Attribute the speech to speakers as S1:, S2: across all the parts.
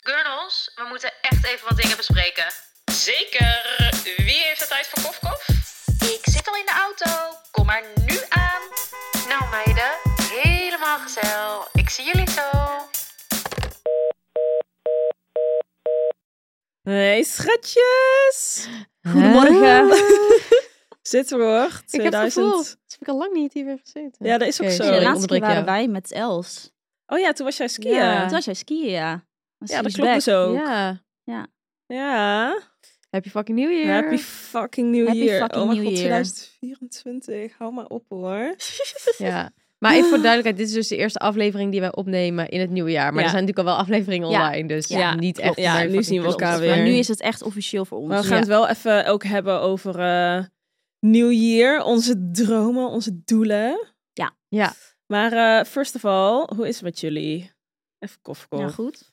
S1: Gurnels, we moeten echt even wat dingen bespreken.
S2: Zeker. Wie heeft de tijd voor kofkof?
S1: Ik zit al in de auto. Kom maar nu aan. Nou meiden, helemaal gezellig. Ik zie jullie zo.
S3: Hey schatjes!
S4: Goedemorgen.
S3: Zit er hoor,
S4: Ik heb het gevoel.
S3: 2000.
S4: Dat heb ik al lang niet hier weer gezeten.
S3: Ja, dat is ook
S4: Oké,
S3: zo.
S4: sorry,
S5: de
S4: ik
S5: laatste keer
S4: onderbreek
S5: waren
S4: jou.
S5: wij met Els.
S3: Oh ja, toen was jij skiën.
S4: Ja,
S5: Toen was jij skiën, ja.
S3: Ja, dat
S5: She's
S3: klopt
S5: back.
S3: dus ook. Ja.
S4: Ja. Happy fucking New Year.
S3: Happy fucking New
S5: Happy
S3: Year.
S5: fucking
S3: oh mijn
S5: New
S3: god,
S5: Year.
S3: 2024. Hou maar op hoor.
S4: Ja. Maar even voor de duidelijkheid, dit is dus de eerste aflevering die wij opnemen in het nieuwe jaar. Maar
S3: Ja.
S4: er zijn natuurlijk al wel afleveringen
S5: Ja.
S4: online, dus
S5: Ja,
S4: niet
S3: klopt.
S4: echt.
S3: Ja,
S4: maar
S3: nu zien we
S4: klopt.
S3: elkaar weer.
S5: Maar nu is het echt officieel voor ons.
S3: Maar we gaan het wel even ook hebben over eh New Year. Onze dromen, onze doelen.
S5: Ja.
S4: Ja.
S3: Maar eh, first of all, hoe is het met jullie? Even koffie
S5: Ja, goed.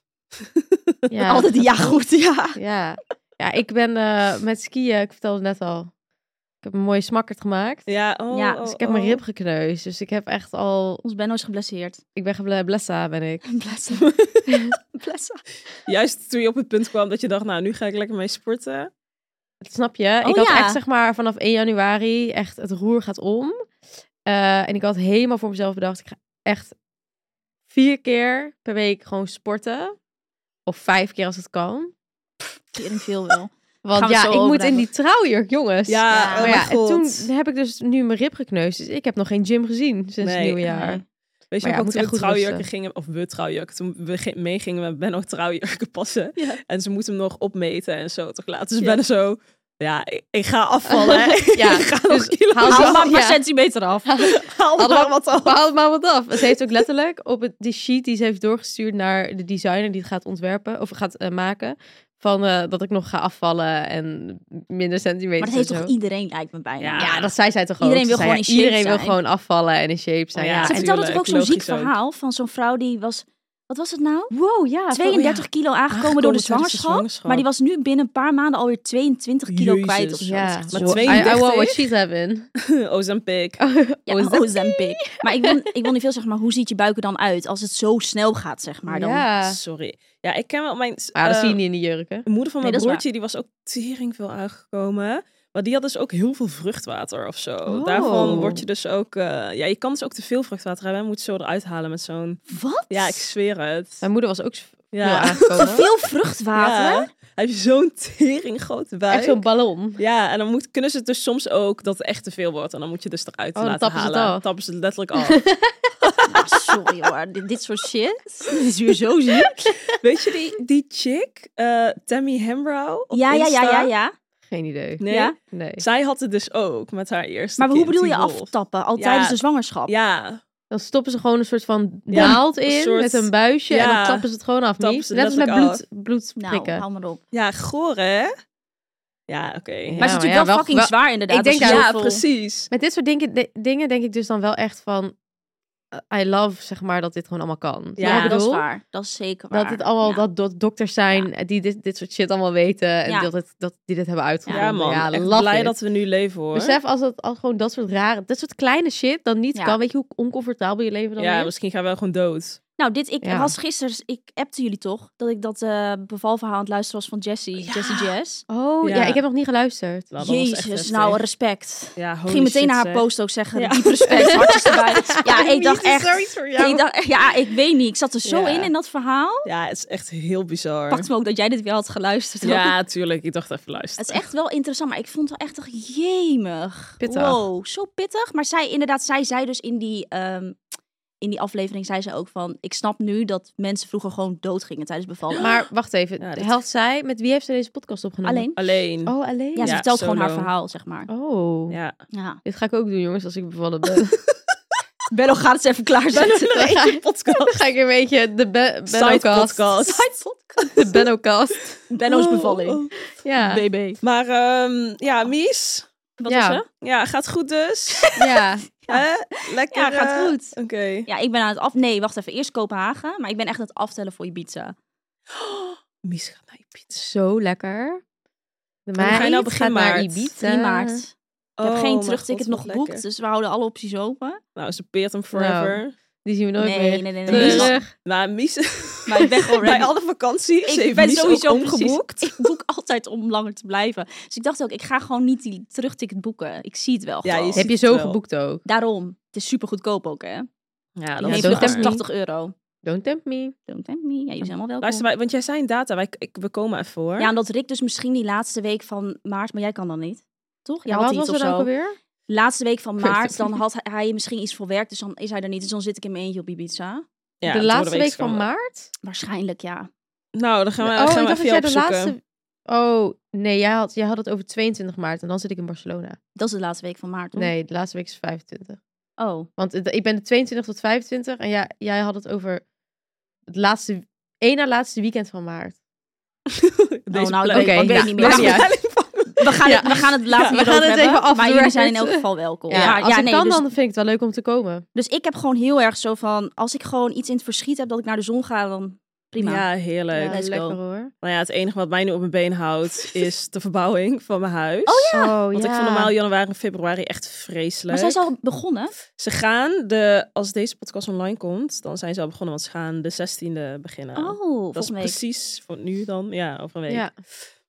S4: Ja.
S5: Altijd ja goed, ja.
S4: Ja. ja, ik ben eh, met skiën, ik vertelde net al, ik heb een mooie smakkerd gemaakt.
S3: Ja, oh,
S5: Ja,
S3: oh,
S4: Dus ik heb mijn
S3: oh.
S4: rib gekneusd, dus ik heb echt al,
S5: Ons Benno is geblesseerd.
S4: ik ben geblessa ben ik.
S5: Blessen. Blessen.
S3: Juist toen je op het punt kwam dat je dacht, nou nu ga ik lekker mee sporten.
S4: Snap je? ik
S5: Oh,
S4: had
S5: ja.
S4: echt zeg maar vanaf 1 januari echt het roer gaat om. Eh, en ik had helemaal voor mezelf bedacht, ik ga echt vier keer per week gewoon sporten. Of vijf keer als het kan.
S5: Tering veel wel.
S4: Want
S5: Gaan we het
S4: ja,
S5: zo
S4: ik
S5: over
S4: moet in
S5: hebben.
S4: die trouwjurk, jongens.
S3: Ja,
S5: Ja.
S3: oh
S4: maar
S3: mijn
S4: ja, en
S3: god.
S4: toen heb ik dus nu mijn rib gekneusd. Dus ik heb nog geen gym gezien sinds
S3: Nee.
S4: het nieuwe jaar.
S5: Nee.
S3: Weet je
S4: Maar ja,
S3: nog toen
S4: het moet echt
S3: we
S4: goed
S3: trouwjurken
S4: rusten.
S3: gingen, of we trouwjurken, toen we ge- meegingen met Benno trouwjurken passen.
S5: Ja.
S3: En ze moeten hem nog opmeten en zo toch laten. Dus
S5: Ja.
S3: Benno zo, ja, ik, ik ga afvallen. hè. ik
S4: Ja,
S3: ga nog
S4: dus
S3: kilo's
S4: haal
S5: Haal
S4: Ja.
S3: af.
S5: maar een paar
S4: Ja.
S5: centimeter af.
S3: Haal
S4: Hadden
S3: maar
S4: we-
S3: wat af.
S4: Maar houd maar wat af. Ze heeft ook letterlijk op het, die sheet die ze heeft doorgestuurd naar de designer die het gaat ontwerpen of gaat eh, maken. Van eh, dat ik nog ga afvallen en minder centimeters.
S5: Maar dat heeft
S4: en
S5: toch
S4: zo.
S5: iedereen lijkt me bijna.
S4: ja, dat zei zij toch ook.
S5: Iedereen wil
S4: Ze zei,
S5: gewoon
S4: ja,
S5: in shape
S4: Iedereen wil
S5: zijn. Oh
S4: gewoon afvallen en in shape zijn.
S3: Ja,
S4: Ja,
S5: Ze
S4: en-
S5: vertelde toch ook zo'n ziek
S3: Natuurlijk, logisch ook.
S5: verhaal van zo'n vrouw die was... Wat was het nou?
S4: Wow, ja.
S5: 32 kilo aangekomen door de zwangerschap. Maar die was nu binnen een paar maanden alweer 22 kilo
S3: Jezus.
S5: kwijt of zo.
S4: Ja,
S5: Dat is echt
S3: Maar
S5: zo-
S4: I, I
S3: 32?
S4: want what she's having.
S3: Oh, Ozempic.
S5: Ja,
S4: Ozempic.
S5: Oh, Ozempic. Maar ik wil, ik wil niet veel zeggen, maar hoe ziet je buik er dan uit als het zo snel gaat, zeg maar? Dan...
S4: Ja.
S3: Sorry. Ja, ik ken wel mijn...
S4: Ah, dat
S3: eh,
S4: zie je niet in die jurken.
S3: De moeder van
S5: Nee,
S3: mijn
S5: dat is
S3: broertje, die was ook tering veel aangekomen. Maar die had dus ook heel veel vruchtwater of zo.
S4: Oh.
S3: Daarvan word je dus ook... eh, ja, je kan dus ook te veel vruchtwater hebben. en Moet je zo eruit halen met zo'n...
S5: Wat?
S3: Ja, ik zweer het.
S4: Mijn moeder was ook zo- heel
S3: Ja.
S4: aangekomen.
S5: Veel vruchtwater.
S3: Ja. Hij heeft zo'n tering grote buik.
S4: Echt zo'n ballon.
S3: Ja, en dan moet, kunnen ze het dus soms ook dat het echt te veel wordt. En dan moet je dus eruit
S4: Oh, dan
S3: laten
S4: tappen ze het
S3: halen.
S4: af.
S3: tappen ze het letterlijk af.
S5: Nou, sorry hoor, dit, dit soort shit. Dit is weer zo ziek.
S3: Weet je die, die chick, eh, Tammy Hembrow? op
S5: Ja, ja,
S3: Insta?
S5: ja, ja, ja.
S4: Geen idee.
S3: Nee,
S5: Ja.
S4: Nee.
S3: zij had het dus ook met haar eerste
S5: Maar hoe
S3: kind,
S5: bedoel
S3: die
S5: je
S3: wolf.
S5: aftappen? Al
S3: Ja.
S5: tijdens de zwangerschap?
S3: Ja,
S4: Dan stoppen ze gewoon een soort van
S3: Ja,
S4: naald in
S3: een soort-
S4: met een buisje en
S3: ja.
S4: dan tappen ze het gewoon af.
S3: Tappen
S4: Niet?
S3: ze
S4: Net als met
S3: letterlijk
S4: bloed, bloed
S5: Nou,
S4: prikken.
S5: hou maar op.
S3: ja, goor hè? Ja, oké.
S5: maar het is
S4: maar
S5: natuurlijk
S4: ja,
S5: wel
S4: wel-
S5: fucking
S4: wel-
S5: zwaar inderdaad.
S4: Ik denk
S5: als je
S4: daar-
S3: Ja,
S5: zoveel-
S3: precies.
S4: Met dit soort dingen, de- dingen denk ik dus dan wel echt van... eh, I love, zeg maar, dat dit gewoon allemaal kan.
S3: Ja,
S5: Ja,
S4: ik
S5: dat is
S4: bedoel?
S5: waar. Dat is zeker waar.
S4: Dat het allemaal,
S5: Ja.
S4: dat do- dokters zijn die dit, dit soort shit allemaal weten. En
S5: Ja.
S4: dat, het, dat die dit hebben
S3: Ja,
S4: uitgevonden.
S3: man, echt
S4: love
S3: blij
S4: it.
S3: dat we nu leven hoor.
S4: Besef als het als gewoon dat soort rare, dat soort kleine shit dan niet
S5: Ja.
S4: kan. Weet je hoe oncomfortabel je leven dan
S3: ja,
S4: is?
S3: misschien gaan we wel gewoon dood.
S5: Nou, dit, ik
S4: Ja.
S5: was gisteren, ik appte jullie toch, dat ik dat eh, bevalverhaal aan het luisteren was van Jessie, Jessie Jess.
S4: Oh, ja.
S3: Ja.
S4: ik heb nog niet geluisterd.
S3: Nou, dat was echt
S5: Jezus,
S3: heftig.
S5: nou, respect.
S3: Ja,
S5: Ik
S3: holy
S5: ging meteen
S3: shit,
S5: naar haar
S3: zeg.
S5: post ook zeggen,
S3: Ja.
S5: diep respect, hartjes erbij. Ja, ik dacht echt,
S3: Zoiets voor jou.
S5: ik dacht, ja, ik weet niet, ik zat er zo
S3: Ja.
S5: in in dat verhaal.
S3: Ja, het is echt heel bizar.
S5: Pakt me ook dat jij dit weer had geluisterd.
S3: Ja, tuurlijk. Ik dacht even
S5: Het
S3: luisteren.
S5: is echt wel interessant, maar ik vond het wel echt toch jemig.
S4: Pittig.
S5: Wow, zo pittig. Maar zij, inderdaad, zij zei dus in die, ehm, in die aflevering, zei ze ook van, ik snap nu dat mensen vroeger gewoon dood gingen tijdens bevallen.
S4: Maar wacht even,
S3: Ja, dit-
S4: helpt zij, met wie heeft ze deze podcast opgenomen?
S5: Alleen.
S3: Alleen.
S4: Oh, alleen?
S5: Ja, ze
S3: Ja,
S5: vertelt gewoon haar
S3: solo.
S5: verhaal, zeg maar.
S4: Oh.
S3: Ja.
S5: Ja.
S4: Dit ga ik ook doen, jongens, als ik bevallen ben.
S5: Bello gaat het even klaarzetten.
S4: Dan ga ik-
S3: Podcast.
S4: dan ga ik een beetje de be
S3: Side
S4: Bennocast.
S3: podcast.
S4: De Bennocast.
S5: Benno's bevalling.
S3: Oh, oh.
S4: Ja.
S5: BB.
S3: Maar ehm, ja, Mies. Wat
S4: Ja.
S3: is er? Ja, gaat goed dus.
S4: ja.
S3: Hè? Lekker.
S5: Ja, gaat
S3: eh,
S5: goed.
S3: Oké.
S5: Ja, ik ben aan het af... Nee, wacht even. Eerst Kopenhagen. Maar ik ben echt aan het aftellen voor Ibiza.
S3: Mies gaat naar je pizza.
S4: Zo lekker. De
S3: dan ga je
S4: meid
S3: nou begin
S4: gaat naar
S3: maart.
S4: Ibiza.
S5: 3 maart. Ik
S3: Oh,
S5: heb geen terugticket
S3: terugticket
S5: nog geboekt. Dus we houden alle opties open.
S3: Nou, ze peert hem forever.
S4: Die zien we nooit
S5: nee,
S4: meer.
S5: nee, nee, nee,
S3: Terug.
S5: nee.
S4: Terug.
S3: Maar Mies...
S5: Maar ik ben gewoon
S3: Bij
S5: ready.
S3: alle vakanties.
S5: ik
S3: Ik
S5: ben sowieso precies-
S3: omgeboekt.
S5: ik boek altijd om langer te blijven. Dus ik dacht ook, ik ga gewoon niet die terugticket boeken. Ik zie het wel.
S3: Ja,
S5: gewoon.
S3: je ziet-
S4: Heb je zo
S3: wel.
S4: geboekt ook?
S5: Daarom. Het is super goedkoop ook, hè?
S4: Ja,
S5: Die
S4: is
S5: heeft
S4: don't tempt
S5: kost
S4: me.
S5: 80 euro.
S4: Don't tempt me.
S5: Don't tempt me. Ja, jullie zijn allemaal welkom.
S3: Luister, wij- want jij zei een data. Wij, ik, we komen even voor.
S5: ja, omdat Rick dus misschien die laatste week van maart, maar jij kan dan niet. Toch? Jij
S4: Ja,
S5: had
S4: wat
S5: iets
S4: was
S5: of
S4: er ook
S5: zo.
S4: alweer?
S5: Laatste week van
S4: Ik weet
S5: maart,
S4: het
S5: dan
S4: niet.
S5: had hij misschien iets voor werk, dus dan is hij er niet. Dus dan zit ik in mijn eentje op Ibiza.
S3: Ja,
S4: de
S3: het
S4: laatste
S3: worden
S4: week van
S3: weekskant.
S4: maart?
S5: Waarschijnlijk, ja.
S3: Nou, dan gaan we,
S4: oh,
S3: gaan
S4: ik
S3: we
S4: dacht
S3: even jou
S4: dat jij de
S3: opzoeken.
S4: laatste... Oh, nee, jij had, jij had het over 22 maart en dan zit ik in Barcelona.
S5: Dat is de laatste week van maart, toch?
S4: Nee, de laatste week is 25.
S5: Oh,
S4: Want het- ik ben de 22 tot 25 en jij, jij had het over het laatste, één na laatste weekend van maart.
S3: Deze
S5: nou,
S3: planning-
S4: oké,
S5: ik weet
S4: ja,
S5: niet
S4: maakt
S5: meer.
S4: niet uit.
S5: We gaan,
S4: Ja.
S5: het, we gaan het later
S4: we
S5: hierover
S4: gaan het
S5: hebben,
S4: even af
S5: Maar
S4: the
S5: jullie zijn in
S4: record.
S5: elk geval welkom.
S4: Ja, als ik
S5: nee,
S4: kan,
S5: dus,
S4: dan vind ik het wel leuk om te komen.
S5: dus ik heb gewoon heel erg zo van... Als ik gewoon iets in het verschiet heb dat ik naar de zon ga, dan prima.
S3: Ja, heerlijk.
S4: Ja,
S5: let's
S4: lekker
S5: go.
S4: hoor.
S3: Nou ja, het enige wat mij nu op mijn been houdt is de verbouwing van mijn huis.
S4: Oh,
S3: Want ik vond normaal januari en februari echt vreselijk.
S5: maar zijn ze al begonnen?
S3: Ze gaan, de, als deze podcast online komt, dan zijn ze al begonnen. Want ze gaan de 16e beginnen.
S5: oh,
S3: dat is
S5: volgens mij.
S3: precies voor nu dan. Ja, over een week.
S4: Ja.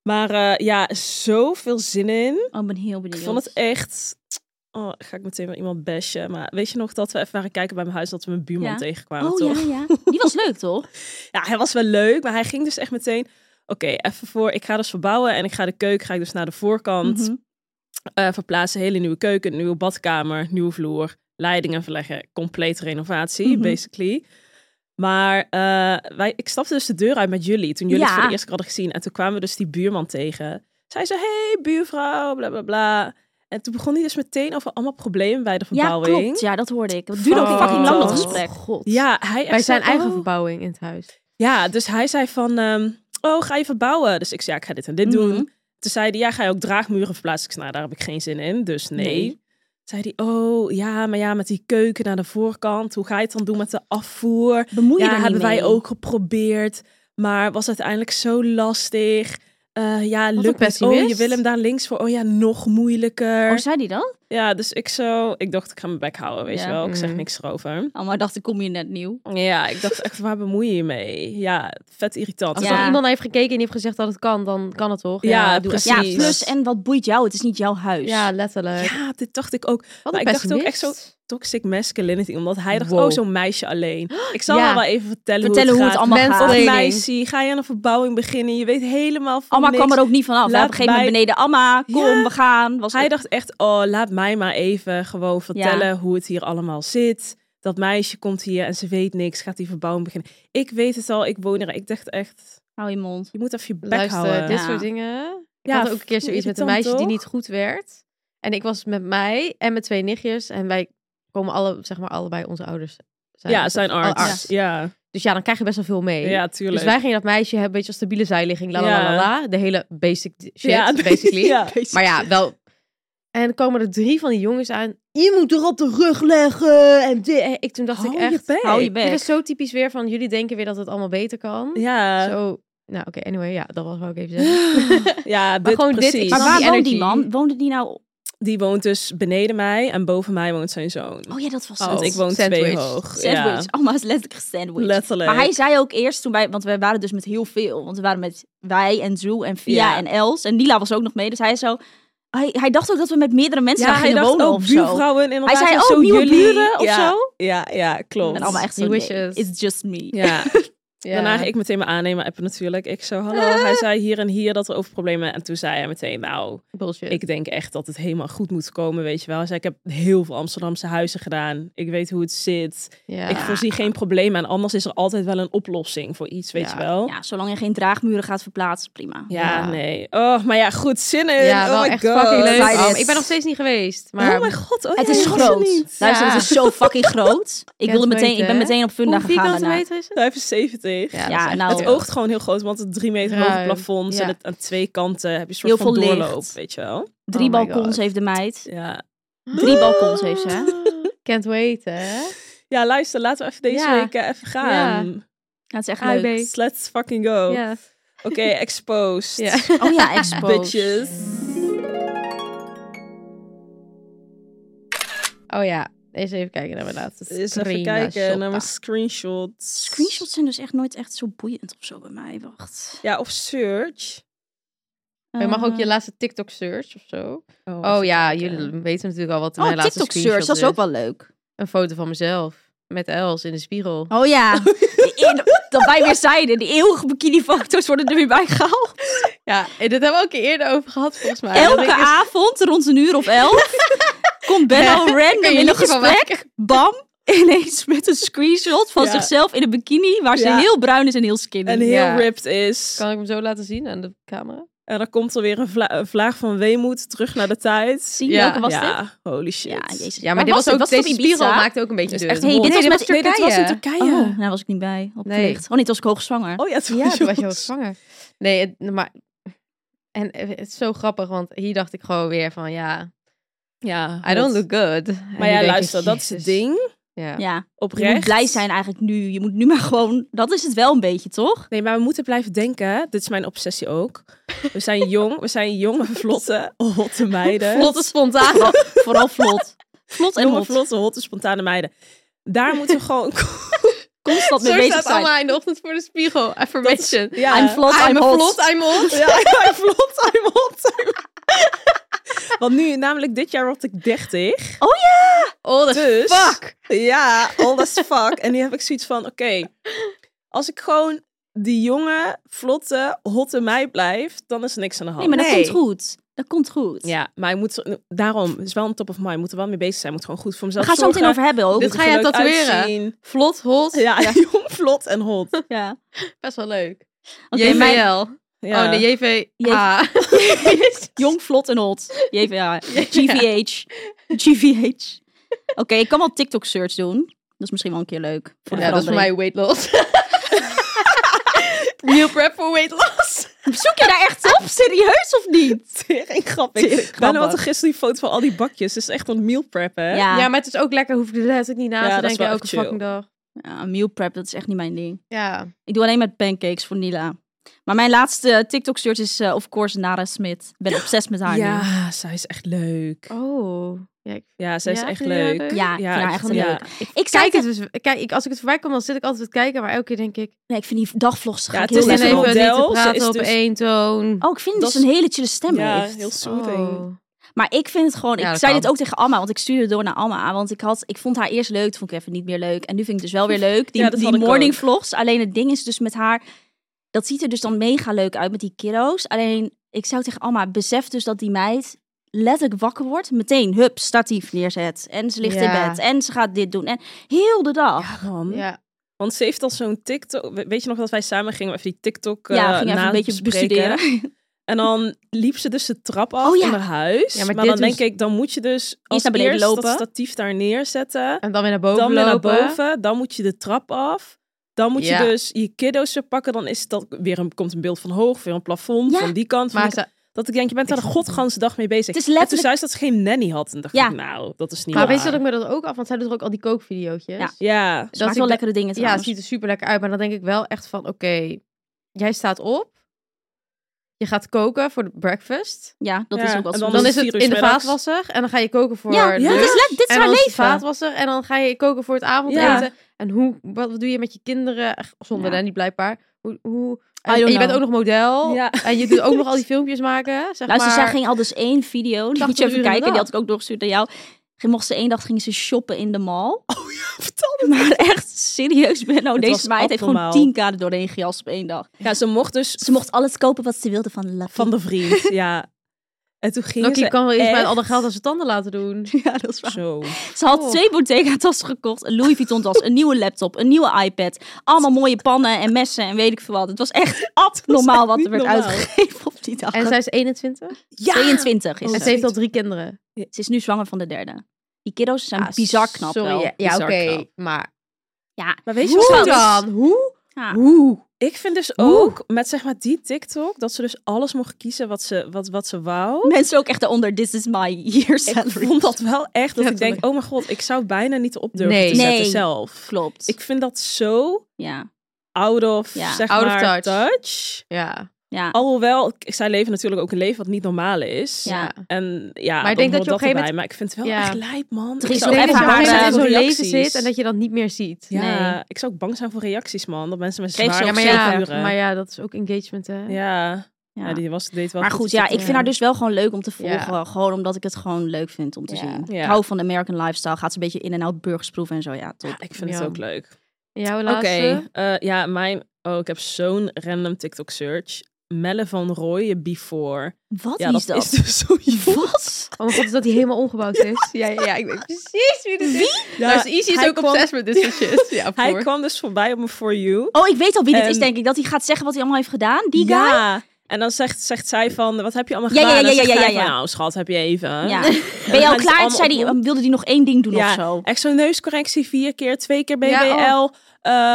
S3: Maar eh, ja, zoveel zin in.
S5: Oh, ik ben heel
S3: Ik
S5: benieuwd.
S3: vond het echt... Oh, ga ik meteen wel iemand bashen. Maar weet je nog dat we even waren kijken bij mijn huis... dat we mijn buurman
S5: Ja.
S3: tegenkwamen,
S5: Oh
S3: toch?
S5: ja, ja. Die was leuk, toch?
S3: Ja, hij was wel leuk, maar hij ging dus echt meteen... Oké, even voor, ik ga dus verbouwen en ik ga de keuken ga ik dus naar de voorkant
S5: Mhm.
S3: eh, verplaatsen. Hele nieuwe keuken, nieuwe badkamer, nieuwe vloer, leidingen verleggen, complete renovatie,
S5: Mhm.
S3: basically. Maar eh, wij, ik stapte dus de deur uit met jullie toen jullie het
S5: Ja.
S3: voor de eerste keer hadden gezien. En toen kwamen we dus die buurman tegen. Zij zei, hey buurvrouw, bla bla bla. En toen begon hij dus meteen over allemaal problemen bij de
S5: Ja,
S3: verbouwing.
S5: klopt. Ja, dat hoorde ik. Het duurde ook
S3: Oh,
S5: fucking lang, dat
S3: dat.
S5: gesprek.
S4: God.
S3: Ja, hij echt
S4: Bij zijn
S3: zei,
S4: eigen
S3: "Oh."
S4: verbouwing in het huis.
S3: Ja, dus hij zei van, ehm, oh, ga je verbouwen? Dus ik zei, ja, ik ga dit en dit
S5: Mhm.
S3: doen. Toen zei hij, ja, ga je ook draagmuren verplaatsen? Ik zei, nou, daar heb ik geen zin in, dus nee.
S5: Nee.
S3: Toen zei hij, oh, ja, maar ja, met die keuken naar de voorkant. Hoe ga je het dan doen met de afvoer?
S5: Bemoei je
S3: ja,
S5: er niet
S3: hebben wij
S5: mee.
S3: ook geprobeerd, maar was uiteindelijk zo lastig. Eh, ja,
S4: een
S3: lukt het. Oh,
S4: pessimist.
S3: je wil hem daar links voor. Oh ja, nog moeilijker.
S5: Oh, zei die dat?
S3: Ja, dus ik zo, ik dacht, ik ga mijn bek houden, weet
S5: Ja.
S3: je wel. Ik zeg
S4: Mm.
S3: niks erover.
S5: Oh, maar dacht ik, kom je net nieuw.
S3: Ja, ik dacht echt, waar bemoei je je mee? Ja, vet irritant.
S4: Als
S5: Ja.
S4: er dan iemand heeft gekeken en die heeft gezegd dat het kan, dan kan het toch?
S3: Ja,
S4: doe
S3: precies.
S5: Ja,
S4: alsjeblieft.
S5: plus en wat boeit jou? Het is niet jouw huis.
S4: Ja, letterlijk.
S3: Ja, dit dacht ik ook.
S4: Wat
S3: maar
S4: een
S3: ik dacht ook echt
S4: pessimist.
S3: Toxic masculinity, omdat hij dacht,
S4: Wow.
S3: oh, zo'n meisje alleen. Ik zal
S4: Ja.
S3: haar wel even vertellen,
S5: Vertellen hoe
S3: hoe het,
S5: het, allemaal
S4: Mensen-
S5: gaat.
S4: allemaal-
S3: gaat.
S4: Training.
S3: meisje, ga je aan een verbouwing beginnen? Je weet helemaal van
S5: Amma
S3: niks.
S5: kwam er ook niet vanaf. Hij
S3: Laat
S5: Op een gegeven moment
S3: mij-
S5: beneden Amma, kom,
S3: Ja.
S5: we gaan. Was
S3: Hij dacht echt, oh, laat mij maar even gewoon vertellen hoe het hier allemaal zit. Dat meisje komt hier en ze weet niks, gaat die verbouwing beginnen. Ik weet het al, ik woon er. Ik dacht echt,
S5: Hou je mond.
S3: je moet even je bek
S4: Luister,
S3: houden.
S4: dit
S5: Ja.
S4: soort dingen. Ik
S3: Ja,
S4: had ook een keer zoiets met een
S3: irritant,
S4: meisje die
S3: toch?
S4: niet goed werd. En ik was met mij en met twee nichtjes. En wij komen alle, zeg maar, allebei onze ouders. Zijn
S3: ja, zijn
S4: alle
S3: arts. Ja.
S4: Dus ja, dan krijg je best wel veel mee.
S3: ja, tuurlijk.
S4: dus wij gingen dat meisje hebben, een beetje als stabiele zijligging, la la
S3: Ja.
S4: la la, la. De hele basic d- shit,
S3: ja,
S4: basically.
S3: ja.
S4: Maar ja, wel. En dan komen er drie van die jongens aan. Je moet er op de rug leggen. En dit. En ik, toen dacht
S3: Hou
S4: ik
S3: je
S4: echt...
S3: bek.
S5: Hou je bek.
S4: Dit is zo typisch weer van, jullie denken weer dat het allemaal beter kan.
S3: Ja,
S4: Zo, nou oké, anyway, ja, dat was wat ik even zeggen.
S3: ja dit,
S4: gewoon dit, ik
S3: precies.
S5: Maar
S4: Die
S5: waar woonde die
S4: energy.
S5: man? Woonde die nou...
S3: Die woont dus beneden mij en boven mij woont zijn zoon.
S5: Oh ja, dat was
S4: Oh,
S5: het.
S3: Want ik woon twee
S4: sandwich.
S3: hoog.
S5: Sandwich.
S3: Ja,
S5: Amma is letterlijk sandwich.
S3: letterlijk.
S5: Maar hij zei ook eerst toen wij... Want wij waren dus met heel veel. Want we waren met wij en Drew en Via
S3: Ja.
S5: en Els. En Nila was ook nog mee. Dus hij zo... Hij, hij dacht ook dat we met meerdere mensen
S3: ja,
S5: daar
S3: hij
S5: gingen
S3: dacht
S5: wonen
S3: ook
S5: of zo.
S3: buurvrouwen inderdaad.
S5: Hij zei
S3: en
S5: ook
S3: zo
S5: nieuwe
S3: jullie.
S5: buren of
S3: ja,
S5: zo.
S3: Ja, ja, klopt.
S5: En allemaal echt zo...
S4: He
S5: nee,
S4: wishes.
S5: it's just me.
S3: Ja.
S4: Ja.
S3: Daarna ging ik meteen mijn aannemer appen natuurlijk. Ik zo, hallo. Hij zei hier en hier dat er over problemen. En toen zei hij meteen, nou,
S4: Bullshit.
S3: ik denk echt dat het helemaal goed moet komen, weet je wel. Hij zei, ik heb heel veel Amsterdamse huizen gedaan. Ik weet hoe het zit.
S4: ja.
S3: Ik voorzie geen problemen. En anders is er altijd wel een oplossing voor iets, weet je
S4: Ja.
S3: wel.
S5: Ja, zolang je geen draagmuren gaat verplaatsen, prima.
S3: Ja,
S4: Ja.
S3: nee. Oh, maar ja, goed zin in.
S4: ja, wel
S3: oh my
S4: echt
S3: god.
S4: fucking leuk.
S5: Excited.
S4: Oh, ik ben nog steeds niet geweest. Maar
S3: oh mijn god, oh
S5: het
S3: ja,
S5: is
S3: je was er
S5: groot.
S4: Nou,
S3: niet.
S5: Luister, het is zo fucking groot. Ik, wilde meteen, ik ben
S4: hè?
S5: meteen op Funda
S4: hoe
S5: gegaan
S4: vierkante
S5: daarna.
S4: meter is het?
S3: 75.
S4: Ja,
S5: Ja,
S4: dat is
S5: nou-
S4: echt
S3: Het
S4: veel.
S3: oogt gewoon heel groot, want het drie meter hoge
S4: Ruim,
S3: plafonds en
S4: ja.
S3: het, aan twee kanten heb je een soort
S5: Heel
S3: van
S5: veel licht.
S3: doorloop, weet je wel.
S5: Drie
S4: Oh my
S5: balkons
S4: God.
S5: heeft de meid.
S3: Ja.
S4: Oh.
S5: Drie balkons heeft ze, hè?
S4: Can't wait, hè?
S3: ja, luister, laten we even deze
S4: Ja.
S3: week eh, even gaan.
S5: Dat is echt
S4: AIB.
S5: leuk.
S3: Let's- Let's fucking go.
S4: Ja.
S3: Oké, exposed.
S4: Oh. Ja.
S5: Oh ja, exposed.
S3: Bitches.
S4: Oh ja. Eens even kijken naar mijn laatste
S3: Eens even
S4: screen,
S3: kijken naar mijn
S4: Shotta.
S3: screenshots.
S5: Screenshots zijn dus echt nooit echt zo boeiend of zo bij mij. Wacht.
S3: Ja, of search.
S4: Je mag ook
S5: Eh,
S4: je laatste TikTok search of zo.
S3: even
S4: Oh ja,
S3: kijken.
S4: jullie weten natuurlijk al wat
S5: Oh,
S4: mijn laatste
S5: TikTok search,
S4: screenshot
S5: dat is ook wel leuk.
S4: Een foto van mezelf met Els in de spiegel.
S5: Oh ja, In- dat wij weer zeiden, die eeuwige bikini-foto's worden er weer bij gehaald.
S4: Ja, en dit hebben we ook een keer eerder over gehad volgens mij. Dat ik
S5: Elke
S4: dus-
S5: avond, rond een uur of elf, komt Benno
S4: Kun
S5: random
S4: je
S5: in een
S4: liedje van
S5: gesprek,
S4: maken?
S5: bam, ineens met een screenshot van
S3: Ja.
S5: zichzelf in een bikini, waar ze
S3: Ja.
S5: heel bruin is en heel skinny.
S3: En heel
S4: Ja.
S3: ripped is.
S4: Kan ik hem zo laten zien aan de camera?
S3: En dan komt er weer een, vla- een vlaag van weemoed terug naar de tijd.
S5: Zie je,
S4: Ja.
S5: welke was dit?
S3: ja, holy shit.
S5: Ja, jezus.
S4: Ja, maar dit was, ook, deze
S5: op
S4: spiegel
S5: Ibiza?
S4: maakte ook een beetje
S3: Dit
S4: dun.
S3: is echt
S5: Hey, dit
S3: Nee,
S5: was
S3: dit
S5: met
S3: was- nee, dit was in Turkije.
S5: Oh, daar was ik niet bij. Opgelicht. Oh nee, toen was ik hoogzwanger.
S3: Oh ja, toen
S4: Ja,
S3: was
S4: toen was je
S3: je
S4: wel zwanger. Nee, het- nou, maar... En eh, het is zo grappig, want hier dacht ik gewoon weer van, ja,
S3: Ja,
S4: I don't
S3: hot.
S4: look good. En nu
S3: Maar
S4: denk
S3: ja,
S4: ik,
S3: luister, dat is het
S4: jezus.
S3: ding.
S4: Ja.
S5: Ja, je
S3: Oprecht.
S5: moet blij zijn eigenlijk nu. Je moet nu maar gewoon... Dat is het wel een beetje, toch?
S3: Nee, maar we moeten blijven denken. Dit is mijn obsessie ook. We zijn jong, we zijn jonge, vlotte, hotte meiden.
S4: Vlotte spontaan.
S5: Vooral vlot. Vlot en
S3: jonge,
S5: hot.
S3: vlotte, hotte, spontane meiden. Daar moeten we gewoon
S5: Constant mee
S4: Zo
S5: bezig
S4: staat
S5: zijn.
S4: allemaal in de ochtend voor de spiegel. Affirmation.
S3: Ja,
S5: I'm vlot, I'm,
S4: I'm a
S5: hot.
S4: vlot, I'm hot.
S3: Ja, I'm vlot, I'm hot. Want nu, namelijk dit jaar word ik 30.
S4: Oh, dat
S3: Dus-
S4: fuck.
S3: Ja, all as fuck. En nu heb ik zoiets van, oké, als ik gewoon die jonge, vlotte, hotte mij blijf, dan is er niks aan de hand.
S5: Nee, maar dat
S4: Nee.
S5: komt goed. Dat komt goed.
S3: Ja, maar je moet, daarom, het is wel een top of mind, moet er wel mee bezig zijn, moet gewoon goed voor
S5: We
S3: mezelf
S5: gaan het zo
S3: zorgen.
S5: meteen over hebben ook.
S4: Dit
S3: moet
S4: ga
S3: er
S4: jij
S3: leuk
S4: tatoeëren?
S3: uitzien.
S4: Vlot, hot.
S3: Ja, jong, vlot en hot.
S5: Ja.
S4: Best wel leuk.
S5: Oké,
S4: JVL.
S5: mijn-
S3: Ja.
S4: Oh nee, JV.
S5: J-
S4: Ah.
S5: Jong, vlot en hot. JVA. GVH. GVH. Oké, ik kan wel TikTok search doen. Dat is misschien wel een keer leuk. Voor de
S4: Ja, dat is voor mij weight loss. Meal prep voor weight loss.
S5: verandering. Zoek je daar echt op? Serieus of niet?
S3: Tering
S5: Tering
S3: grappig.
S5: grappig.
S3: Bijna had er gisteren die foto van al die bakjes. Het is echt een meal prep, hè?
S5: Ja,
S4: Ja,
S5: ja.
S4: maar het is ook lekker. Hoef ik er letterlijk niet na
S3: Ja,
S4: te
S3: dat is
S4: denken
S3: wel
S4: elke
S3: echt chill.
S4: fucking dag.
S5: meal prep, dat is echt niet mijn ding.
S4: Ja.
S5: Ik doe alleen met pancakes, vanilla. Maar mijn laatste TikTok search is eh, of course Nara Smit. Ik ben obsessed met haar nu.
S3: Ja, zij is echt leuk.
S4: Oh. Ja, ik...
S3: Ja, zij
S4: Ja,
S3: is echt
S4: vind je haar
S3: leuk.
S4: leuk?
S5: Ja,
S3: Ja,
S5: ik vind haar
S3: ik
S5: echt
S3: vond-
S5: een
S3: ja.
S5: leuke. Ik, zei
S4: Kijk,
S5: het,
S4: het dus, kijk ik, als ik het voorbij kom, dan zit ik altijd te kijken. Maar elke keer denk ik...
S5: nee, ik vind die dagvlogs ga
S3: Ja,
S5: ik
S3: het
S5: heel
S3: is
S4: Ik
S5: erg
S4: zit even
S3: een model.
S5: op.
S4: niet te
S3: Ze
S4: praten
S3: is
S4: op
S3: dus-
S4: één toon.
S5: Oh, ik vind dat
S3: Dat
S5: ze een hele chille stem
S3: Ja,
S5: heeft.
S3: heel soothing.
S4: Oh.
S5: Maar ik vind het gewoon.
S4: Ja,
S5: ik
S4: dat
S5: zei
S4: kan.
S5: dit ook tegen Alma, want ik stuurde het door naar Alma. Want ik, had, ik vond haar eerst leuk, toen vond ik even niet meer leuk. En nu vind ik het dus wel weer leuk. Die,
S3: Ja, dat
S5: die
S3: had ik
S5: morning
S3: ook.
S5: vlogs. Alleen het ding is dus met haar. Dat ziet er dus dan mega leuk uit met die kiddo's. Alleen ik zou tegen Alma, besef dus dat die meid letterlijk wakker wordt. Meteen, hup, statief neerzet. En ze ligt
S4: Ja.
S5: in bed. En ze gaat dit doen. En heel de dag.
S3: Ja, man.
S4: Ja.
S3: Want ze heeft al zo'n TikTok. we- Weet je nog dat wij samen gingen even die TikTok
S5: Ja,
S3: eh,
S5: ging even een beetje
S3: nabespreken?
S5: bestuderen.
S3: En dan liep ze dus de trap af
S5: Oh, ja.
S3: van haar huis.
S4: Ja, maar
S3: maar
S4: dit
S3: dan denk
S4: dus-
S3: ik, dan moet je dus als
S5: naar beneden
S3: eerst
S5: lopen.
S3: dat statief daar neerzetten.
S4: En dan weer naar boven
S3: Dan weer naar
S4: lopen.
S3: boven. Dan moet je de trap af. Dan moet
S4: Ja.
S3: je dus je kiddo's weer pakken. Dan is dat weer een, komt een beeld van hoog, weer een plafond
S5: Ja.
S3: van die kant. Van
S4: Maar
S3: die
S4: ze,
S3: kant. dat ik denk, je bent daar de godganse dag mee bezig.
S5: Het is
S3: En toen
S5: letterlijk-
S3: zei ze dat ze geen nanny had. En dacht
S5: Ja.
S3: ik, nou, dat is niet
S4: maar
S3: waar.
S4: weet je dat ik me dat ook af... Want zij doet toch ook al die kookvideootjes?
S5: Ja.
S3: Ja,
S5: Ze
S4: Dat ik
S5: maakt wel
S4: da-
S5: lekkere dingen
S4: Ja,
S5: trouwens.
S4: het ziet er super lekker uit. Maar dan denk ik wel echt van, oké, jij staat op. Je gaat koken voor de breakfast.
S5: Ja, dat
S3: Ja,
S5: is ook wel
S3: en
S5: zo.
S4: Dan
S3: is
S4: is
S3: het
S4: het
S3: vier
S4: in
S3: uur
S4: de
S3: middags.
S4: vaatwasser. En dan ga je koken voor
S5: Ja,
S4: de
S5: dit is, le- dit is
S4: en
S5: haar
S4: dan is het
S5: leven.
S4: vaatwasser. En dan ga je koken voor het avondeten.
S5: Ja.
S4: En hoe, wat wat doe je met je kinderen? Echt, Zonder
S5: Ja.
S4: Danny blijkbaar. Hoe, hoe,
S5: I
S4: en,
S5: don't
S4: en je bent
S5: know.
S4: ook nog model.
S3: Ja.
S4: En je doet ook nog al die filmpjes maken. Zeg
S5: Luister,
S4: maar,
S5: zij ging al dus één video. Die moet
S4: 80
S5: je even
S4: uur in de
S5: kijken. Die
S4: dag.
S5: had ik ook doorgestuurd aan jou. Ging- Mocht ze één dag ging ze shoppen in de mall.
S3: Oh vertel
S5: Maar echt serieus, Benno. deze
S3: was
S5: meid heeft gewoon
S3: abnormaal.
S5: 10 kaden doorheen gejast op één dag.
S3: Ja, ze mocht dus
S5: Ze mocht alles kopen wat ze wilde van Lucky.
S3: van de vriend. ja. En toen ging
S4: Lucky
S3: ze
S4: kan wel eens bij al dat
S3: echt
S4: geld aan zijn tanden laten doen.
S5: Ja, dat is waar.
S3: Zo.
S5: Ze had
S4: Oh.
S5: twee Bottega-tassen gekocht, een Louis Vuitton-tas, een nieuwe laptop, een nieuwe iPad. Allemaal mooie pannen en messen en weet ik veel wat. Het was echt abnormaal
S3: echt
S5: wat er
S3: niet
S5: werd
S3: normaal.
S5: uitgegeven op die dag.
S4: En zij is 21.
S3: Ja!
S5: 22 is
S3: Oh,
S4: en
S5: ze.
S4: ze heeft al drie kinderen.
S5: Ze is nu zwanger van de derde. Die kiddo's zijn
S4: Ah,
S5: bizar knap
S4: sorry,
S5: wel.
S4: Ja,
S5: Bizar
S4: oké,
S5: knap.
S4: maar
S5: Ja.
S3: Maar weet je
S4: hoe
S3: wat
S4: dan? Hoe?
S5: Ja.
S4: Hoe?
S3: Ik vind dus
S4: Oeh.
S3: ook met zeg maar die TikTok dat ze dus alles mocht kiezen wat ze, wat, wat ze wou.
S5: Mensen ook echt eronder, this is my year
S3: Ik
S5: salary.
S3: vond dat wel echt dat ik
S4: Letterlijk.
S3: denk, oh mijn god, ik zou bijna niet op durven
S4: Nee.
S3: te zetten
S5: Nee.
S3: zelf.
S5: Klopt.
S3: Ik vind dat zo
S5: Ja.
S3: out of
S5: Ja.
S3: zeg
S4: Out of
S3: maar
S4: touch.
S3: touch.
S4: Ja.
S5: Ja.
S3: Alhoewel, k- zij leven natuurlijk ook een leven wat niet normaal is.
S5: dus Ja.
S3: En ja,
S4: Maar ik
S3: dan
S4: denk dat
S3: hoort
S4: je op een gegeven
S3: erbij.
S4: moment-
S3: Maar ik vind het wel
S4: Ja.
S3: echt lijp, man.
S5: Er
S3: Ik
S5: is
S3: zou
S5: nog
S3: echt
S5: even
S3: bang
S5: haar
S3: zijn
S5: daar
S4: in
S3: voor
S4: zo'n leven
S3: reacties.
S4: zit en dat je dat niet meer ziet.
S3: Ja,
S5: Nee.
S3: ik zou ook bang zijn voor reacties, man. Dat mensen met
S5: Kreeg ze
S3: zware
S5: ook
S4: maar,
S5: zeker.
S4: ja,
S3: figuren.
S4: maar ja, dat is ook engagement, hè?
S3: Ja.
S5: Ja.
S3: Ja, die was deed wel
S5: maar goed, ja, ik vind haar dus wel gewoon leuk om te
S4: Ja.
S5: volgen. Gewoon omdat ik het gewoon leuk vind om te
S4: Ja.
S5: zien.
S3: Ja.
S5: Ik hou van de American lifestyle. Gaat ze een beetje in en out burgersproeven en zo. Ja, top.
S3: Ja, ik vind het
S4: Ja.
S3: ook leuk.
S4: Jouw
S3: Oké,
S4: laatste?
S3: eh, ja, mijn... Oh, ik heb zo'n random TikTok search. Melle van Rooyen Before.
S5: Wat
S3: ja,
S5: is
S3: dat,
S5: dat?
S3: is dus zo
S5: Wat?
S4: Oh mijn god, is dat die helemaal omgebouwd is? Ja, ja, ja, ik weet precies wie dit is.
S3: Ja,
S4: dus Izzy is
S3: hij
S4: ook
S3: kwam-
S4: obsessed met dit soort shit. Ja,
S3: Hij
S4: voor.
S3: kwam dus voorbij op mijn For You.
S5: Oh, ik weet al wie dit
S3: En-
S5: is, denk ik. Dat hij gaat zeggen wat hij allemaal heeft gedaan. Die guy?
S3: Ja. En dan zegt, zegt zij van, wat heb je allemaal
S5: Ja, ja,
S3: gedaan?
S5: ja,
S3: En
S5: ja,
S3: zegt
S5: ja,
S3: hij
S5: ja,
S3: van,
S5: ja.
S3: nou schat, heb je even.
S5: Ja. Ben
S3: dan
S5: je
S3: gaan ze
S5: al klaar? Toen
S3: allemaal
S5: zei hij,
S3: opnoemen.
S5: wilde hij nog één ding doen of zo? oh.
S3: echt zo'n neuscorrectie vier keer, twee keer BBL.
S4: Ja,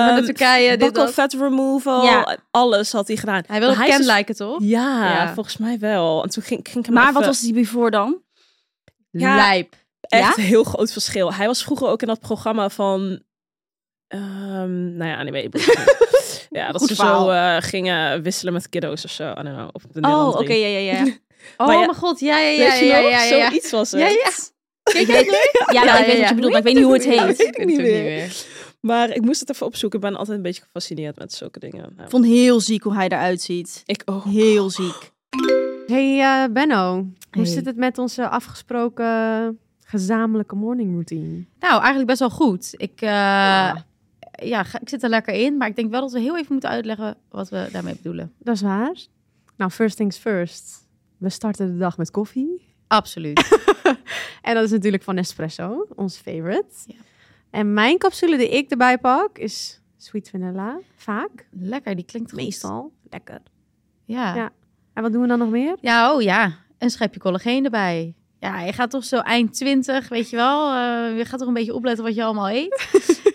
S4: Met de
S3: ehm,
S4: Turkije, dit,
S3: Buccal
S4: dat.
S3: fat removal,
S5: Ja.
S3: alles had hij gedaan.
S4: Hij wil
S3: Maar
S4: ook
S3: is dus-
S4: kenliken, toch?
S3: Ja,
S4: Ja.
S3: volgens mij wel. En toen ging, ging ik hem
S5: Maar
S3: even-
S5: wat was die before dan?
S3: Ja.
S4: Lijp.
S3: echt een heel groot verschil. Hij was vroeger ook in dat programma van... ehm, nou ja, anyway. ja, dat
S5: Goed
S3: ze
S5: verhaal.
S3: zo eh, gingen wisselen met kiddo's of zo. I don't know, op de
S5: Oh,
S3: Nederland
S5: oké,
S3: drie.
S5: ja, ja, ja.
S4: Oh
S3: Maar ja-
S4: mijn god, ja, ja, ja,
S3: Weet je
S4: ja,
S3: nog?
S4: ja, ja, ja.
S3: Zoiets was het.
S4: Ja, ja.
S5: Ik weet, ja, wel, ik weet wat je bedoelt, maar ik weet niet hoe het
S4: Ja,
S5: heet.
S3: weet ik niet
S4: ook
S3: meer. Maar ik moest het even opzoeken. Ik ben altijd een beetje gefascineerd met zulke dingen. Nou,
S5: Ik vond heel ziek hoe hij eruit ziet.
S3: ik ook.
S5: Heel ziek.
S4: Oh. Hey eh, Benno, hoe
S5: Hey.
S4: zit het met onze afgesproken gezamenlijke morning routine? Nou, eigenlijk best wel goed. Ik, eh, ja. ga- ik zit er lekker in, maar ik denk wel dat we heel even moeten uitleggen wat we daarmee bedoelen.
S6: Dat is waar. Nou, first things first. We starten de dag met koffie.
S4: Absoluut.
S6: En dat is natuurlijk van Nespresso, ons favorite.
S4: Ja.
S6: En mijn capsule die ik erbij pak is sweet vanilla. Vaak.
S4: lekker, die klinkt goed.
S6: Meestal. Lekker.
S4: Ja. ja.
S6: Ja. En wat doen we dan nog meer?
S4: oh ja. Een schepje collageen erbij. Ja, je gaat toch zo eind 20, weet je wel. eh, je gaat toch een beetje opletten wat je allemaal eet.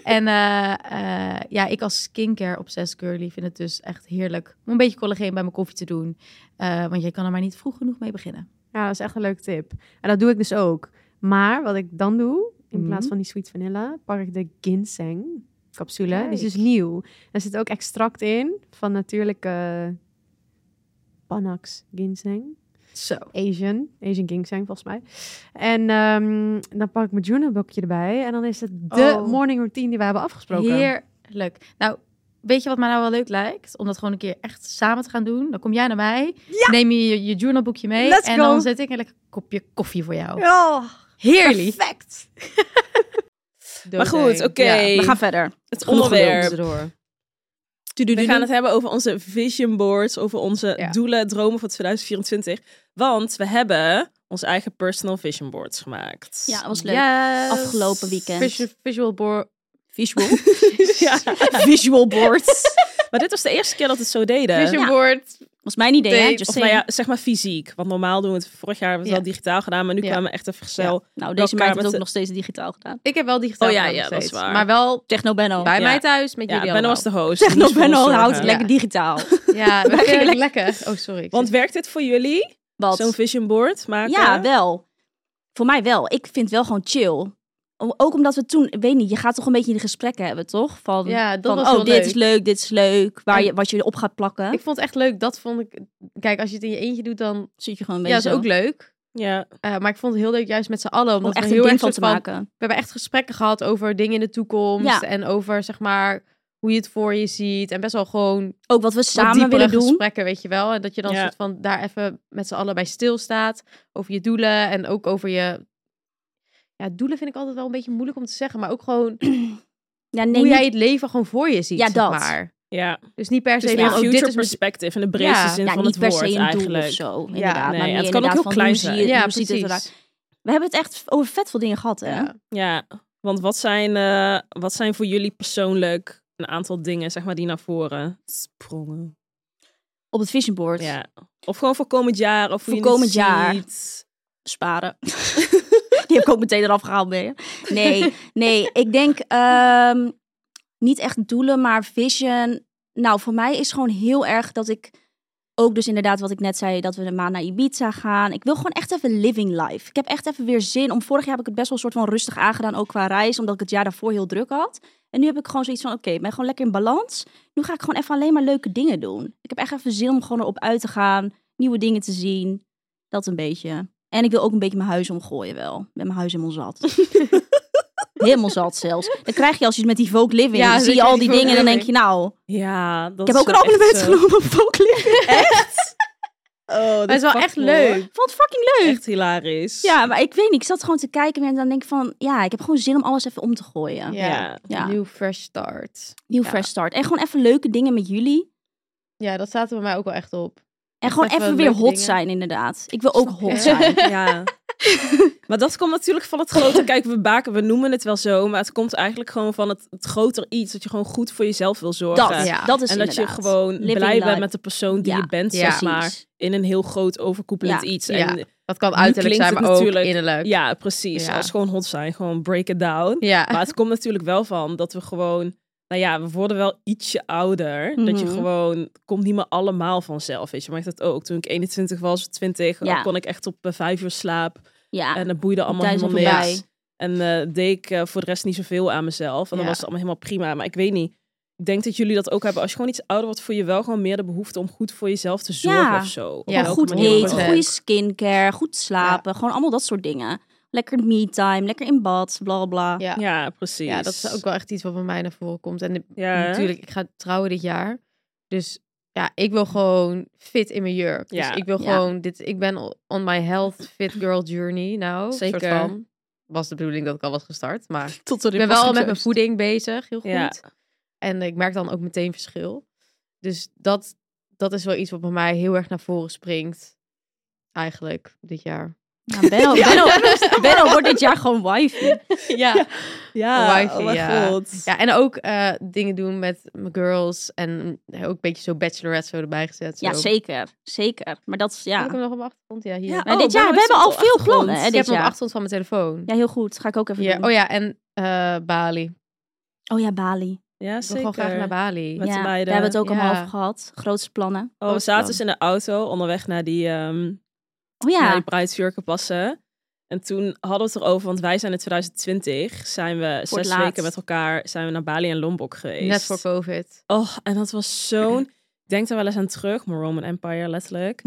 S4: en eh, eh, ja, ik als skincare obsessed curly vind het dus echt heerlijk om een beetje collageen bij mijn koffie te doen. Eh, want je kan er maar niet vroeg genoeg mee beginnen.
S6: Ja, dat is echt een leuke tip. En dat doe ik dus ook. Maar wat ik dan doe, in
S4: Mhm.
S6: plaats van die sweet vanilla, pak ik de ginseng capsule. Die is dus
S4: Kijk.
S6: nieuw. Er zit ook extract in van natuurlijke Panax ginseng.
S4: Zo.
S6: Asian. Asian King zijn volgens mij. En ehm, dan pak ik mijn journalboekje erbij. En dan is het de
S4: Oh.
S6: morning routine die we hebben afgesproken.
S4: Heerlijk. Nou, weet je wat mij nou wel leuk lijkt? Om dat gewoon een keer echt samen te gaan doen. Dan kom jij naar mij, neem je je, je journalboekje mee
S6: Let's
S4: en
S6: go.
S4: dan zet ik een lekker kopje koffie voor jou.
S6: Oh,
S4: Heerlijk. Perfect.
S3: Maar goed, oké.
S5: We gaan verder.
S3: Het
S4: Genoeg
S3: onderwerp.
S4: gelul tussendoor.
S3: We gaan het hebben over onze vision boards, over onze
S4: Ja.
S3: doelen, dromen voor 2024. Want we hebben onze eigen personal vision boards gemaakt.
S5: Ja, dat was leuk.
S4: Yes.
S5: Afgelopen weekend.
S4: Visual,
S6: Dus-
S4: visual board.
S5: Visual.
S3: Ja.
S5: Visual boards.
S3: Maar dit was de eerste keer dat we het zo deden.
S4: Vision
S5: Ja.
S4: board.
S5: Was mijn idee, hè?
S4: Date.
S5: Just
S3: Of nou
S5: saying.
S3: ja, zeg maar fysiek. Want normaal doen we het vorig jaar hebben we het
S4: Ja.
S3: wel digitaal gedaan, maar nu
S4: Ja.
S3: kwamen we echt even versnel.
S5: Nou, deze
S3: elkaar
S5: meid heeft
S3: met
S5: ook
S3: de-
S5: nog steeds digitaal gedaan.
S4: Ik heb wel digitaal.
S3: Oh ja,
S4: gedaan nog
S3: ja, dat is
S4: steeds.
S3: waar.
S4: Maar wel
S5: Techno Benno.
S4: bij
S3: Ja.
S4: mij thuis met
S3: Ja,
S4: jullie
S3: Benno was
S4: allemaal.
S3: de host. Dus die
S5: Techno
S3: moest voor ons
S5: Benno
S3: zorgen.
S5: houdt het lekker digitaal.
S4: Ja, we
S5: Wij
S4: gingen
S5: gingen
S4: lekker. Oh, sorry. ik
S3: Want
S4: zit-
S3: werkt dit voor jullie?
S5: Wat?
S3: Zo'n vision board maken?
S5: Ja, wel. Voor mij wel. Ik vind het wel gewoon chill. O- Ook omdat we toen, ik weet niet, je gaat toch een beetje in de gesprekken hebben, toch? Van,
S4: Ja, dat
S5: van,
S4: was
S5: oh,
S4: wel
S5: dit
S4: leuk.
S5: is leuk, dit is leuk. Waar
S4: En-
S5: je, wat je op gaat plakken.
S4: Ik vond het echt leuk. Dat vond ik. Kijk, als je het in je eentje doet, dan.
S5: Zit je gewoon een
S4: Ja,
S5: beetje
S4: dat is ook
S5: zo.
S4: leuk.
S3: Ja.
S4: Eh, maar ik vond het heel leuk juist met z'n allen. Omdat
S5: om echt
S4: we
S5: een
S4: heel erg
S5: ding van
S4: soort
S5: te
S4: van-
S5: maken.
S4: We hebben echt gesprekken gehad over dingen in de toekomst.
S5: Ja.
S4: En over zeg maar hoe je het voor je ziet. En best wel gewoon wat
S5: Ook wat we samen
S4: diepere
S5: willen doen.
S4: gesprekken, weet je wel. En dat je dan
S3: Ja.
S4: soort van daar even met z'n allen bij stilstaat. Over je doelen en ook over je... Ja, doelen vind ik altijd wel een beetje moeilijk om te zeggen. Maar ook gewoon
S5: Ja, nee,
S4: hoe
S5: niet-
S4: jij het leven gewoon voor je ziet,
S5: Ja,
S4: zeg
S5: dat.
S4: maar.
S3: Ja, dus
S4: Dus niet per se
S5: Dus
S4: van,
S5: meer
S3: meer
S4: oh, dit
S3: future
S4: is mijn-
S3: perspective in de breedste
S4: Ja.
S3: zin
S5: ja,
S3: van
S5: niet
S3: het
S5: per
S3: woord
S5: se een doel
S3: eigenlijk.
S5: of zo. Inderdaad.
S3: nee,
S5: maar
S3: en het
S5: meer
S3: kan ook
S5: inderdaad
S3: heel
S5: van
S3: klein
S5: hoe zie je het,
S4: Ja,
S5: hoe ziet het
S4: precies.
S5: eruit. We hebben het echt over vet veel dingen gehad, hè?
S4: Ja.
S3: Ja, want wat zijn, eh, wat zijn voor jullie persoonlijk een aantal dingen, zeg maar, die naar voren sprongen?
S5: Op het vision board.
S3: Ja. Of gewoon voor komend jaar, of hoe
S5: Voor
S3: je het
S5: komend jaar.
S3: ziet.
S5: sparen. Die heb ik ook meteen eraf gehaald ben je? Nee, nee. Ik denk ehm, niet echt doelen, maar vision. Nou, voor mij is gewoon heel erg dat ik ook dus inderdaad wat ik net zei, dat we een maand naar Ibiza gaan. Ik wil gewoon echt even living life. Ik heb echt even weer zin om. Vorig jaar heb ik het best wel een soort van rustig aangedaan, ook qua reis, omdat ik het jaar daarvoor heel druk had. En nu heb ik gewoon zoiets van, oké, ik ben gewoon lekker in balans. Nu ga ik gewoon even alleen maar leuke dingen doen. Ik heb echt even zin om gewoon erop uit te gaan. Nieuwe dingen te zien. Dat een beetje. En ik wil ook een beetje mijn huis omgooien wel. Ik ben mijn huis helemaal zat. helemaal zat zelfs. Dan krijg je als je met die Vogue Living,
S4: Ja,
S5: dan zie je
S4: zeker
S5: al
S4: die
S5: die
S4: Vogue
S5: dingen en dan denk je,
S4: Living.
S5: nou,
S3: Ja, dat
S5: ik heb
S3: is
S5: ook een
S3: wel echt zo.
S5: abonnement genomen op Vogue Living.
S3: Echt? Oh, dat
S4: Maar het is wel echt leuk.
S5: Ik vond het fucking leuk.
S3: Echt hilarisch.
S5: Ja, maar ik weet niet. Ik zat gewoon te kijken en dan denk ik van, ja, ik heb gewoon zin om alles even om te gooien. Ja.
S3: Ja.
S4: Nieuw fresh start.
S5: Nieuw fresh start. En gewoon even leuke dingen met jullie.
S4: Ja, dat zaten bij mij ook wel echt op.
S5: En gewoon
S4: even
S5: even, weer
S4: leuke
S5: hot
S4: dingen.
S5: zijn, inderdaad. Ik wil ook
S4: Snap
S5: hot
S4: je?
S5: zijn.
S3: Ja. maar dat komt natuurlijk van het grote. Kijk, we baken, we noemen het wel zo, maar het komt eigenlijk gewoon van het, het groter iets dat je gewoon goed voor jezelf wil zorgen.
S5: Dat,
S4: Ja.
S5: dat is
S3: en dat je
S5: inderdaad.
S3: gewoon
S5: Living
S3: blij
S5: life.
S3: bent met de persoon die
S5: Ja,
S3: je bent,
S4: ja.
S3: zeg maar.
S5: Precies.
S3: In een heel groot overkoepelend
S5: Ja,
S3: iets.
S4: ja.
S3: En,
S4: Dat kan
S3: Nu
S4: uiterlijk
S3: klinkt
S4: zijn,
S3: het
S4: maar ook
S3: natuurlijk-
S4: innerlijk.
S3: ja precies.
S4: Ja.
S3: Als gewoon hot zijn, gewoon break it down.
S4: Ja.
S3: Maar het komt natuurlijk wel van dat we gewoon... Nou ja, we worden wel ietsje ouder. Dat je
S5: Mhm.
S3: gewoon... het komt niet meer allemaal vanzelf, weet je. Maar ik dat ook. Toen ik 21 was, 20,
S5: Ja.
S3: kon ik echt op eh, vijf uur slaap.
S5: Ja,
S3: En dat boeide allemaal
S5: Tijd is
S3: helemaal
S5: ook
S3: niks.
S5: voorbij.
S3: En eh, deed ik eh, voor de rest niet zoveel aan mezelf. En dan
S4: Ja.
S3: was het allemaal helemaal prima. Maar ik weet niet. Ik denk dat jullie dat ook hebben. Als je gewoon iets ouder wordt, voel je wel gewoon meer de behoefte om goed voor jezelf te zorgen
S5: Ja.
S3: of zo. Op
S4: Ja,
S5: Gewoon
S3: welke
S5: goed
S3: manier dan
S5: eten,
S3: ook.
S5: goede skincare, goed slapen. Gewoon allemaal dat soort dingen. Lekker me-time, lekker in bad, bla bla bla.
S4: Ja.
S3: Ja, precies.
S4: Ja, dat is ook wel echt iets wat bij mij naar voren komt. En de-
S3: Ja, hè?
S4: natuurlijk, ik ga trouwen dit jaar. Dus ja, ik wil gewoon fit in mijn jurk.
S3: Ja.
S4: Dus ik wil
S5: Ja.
S4: gewoon dit. Ik ben al on my health fit girl journey nou. Zeker.
S3: Zeker.
S4: Soort van. Was de bedoeling dat ik al was gestart, maar
S3: Tot de
S4: ik ben wel al met mijn voeding bezig, heel goed.
S3: Ja.
S4: En ik merk dan ook meteen verschil. Dus dat, dat is wel iets wat bij mij heel erg naar voren springt. Eigenlijk dit jaar.
S5: Nou, Benno, Benno, Benno wordt dit jaar gewoon wifey.
S4: Ja.
S3: Ja,
S4: Wifey,
S3: oh mijn
S4: ja.
S3: god.
S4: Ja, en ook eh, dingen doen met mijn girls. En eh, ook een beetje zo bachelorette zo erbij gezet. Zo.
S5: Ja, zeker. Zeker. Maar dat
S4: Heb
S5: is,
S4: ik
S5: ja.
S4: hem nog op achtergrond? Ja, hier.
S3: Ja,
S4: Ja,
S5: Maar
S3: Oh,
S5: dit jaar,
S3: Benno
S5: we
S3: is
S5: hebben al
S3: op
S5: veel
S3: achtergrond.
S5: plannen hè,
S4: ik heb
S5: dit
S4: hem op
S5: jaar.
S4: achtergrond van mijn telefoon.
S5: Ja, heel goed. Ga ik ook even
S4: Ja,
S5: doen.
S4: oh ja, en eh, Bali. Ik
S5: Oh ja, Bali.
S3: Ja,
S4: wil
S3: zeker.
S4: gewoon graag naar Bali.
S3: Met de
S5: ja, daar
S3: meiden.
S5: hebben we het ook
S4: Ja.
S5: allemaal over gehad. Grootste plannen.
S3: Oh, we zaten dus in de auto onderweg naar die, ehm
S5: Oh ja.
S3: naar die bruidsjurken passen. En toen hadden we het erover, want wij zijn in 2020, zijn we zes
S5: laatst.
S3: weken met elkaar, zijn we naar Bali en Lombok geweest.
S4: Net voor COVID.
S3: Oh, en dat was zo'n. Ik denk daar wel eens aan terug, mijn Roman Empire letterlijk.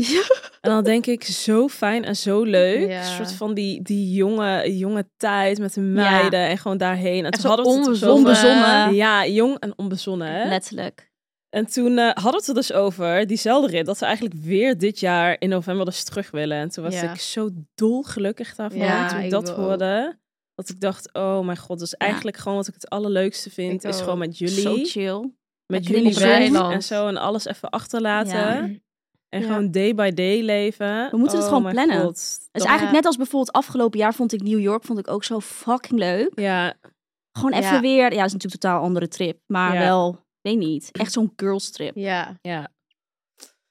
S3: En dan denk ik, zo fijn en zo leuk.
S4: Ja.
S3: Een soort van die, die jonge, jonge tijd met de meiden en gewoon daarheen. En,
S4: En
S3: toen
S4: zo
S3: hadden we het er dus
S4: onbezonnen.
S3: over-
S5: Onbezonnen.
S3: Ja, jong en onbezonnen. hè?
S5: Letterlijk.
S3: En toen eh, hadden we het er dus over, diezelfde rit, dat we eigenlijk weer dit jaar in november dus terug willen. En toen was
S4: Ja.
S3: ik zo dolgelukkig daarvan
S4: Ja,
S3: toen ik
S4: ik
S3: dat
S4: wil
S3: hoorde. Dat ik dacht, oh mijn god, dus eigenlijk gewoon wat ik het allerleukste vind,
S4: Ik
S3: is
S4: ook.
S3: gewoon met jullie
S5: Zo chill.
S3: met
S5: Lekker in
S3: jullie
S5: de
S3: zijn
S4: zon.
S3: en zo en alles even achterlaten.
S5: Ja.
S3: En
S4: Ja.
S3: gewoon day by day leven.
S5: We moeten
S3: Oh
S5: het gewoon
S3: mijn
S5: plannen.
S3: God.
S5: Het
S3: Dat-
S5: is eigenlijk net als bijvoorbeeld afgelopen jaar vond ik New York vond ik ook zo fucking leuk.
S3: Ja,
S5: Gewoon even
S4: Ja.
S5: weer. Ja, is natuurlijk een totaal andere trip. Maar
S3: Ja.
S5: wel, weet niet. Echt zo'n girls trip.
S4: Ja.
S3: ja.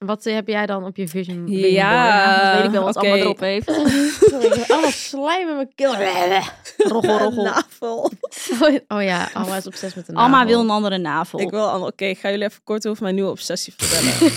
S4: Wat eh, heb jij dan op je vision?
S3: Ja.
S4: vision board?
S5: dat weet ik wel wat
S3: oké.
S5: allemaal erop heeft.
S4: Sorry, ik heb allemaal slijm in mijn keel.
S3: Nou,
S5: roggel, roggel.
S4: Oh ja, Alma is obsessief met de navel.
S5: Alma wil een andere navel.
S3: Ik wil, allemaal- oké, ik ga jullie even kort over mijn nieuwe obsessie vertellen.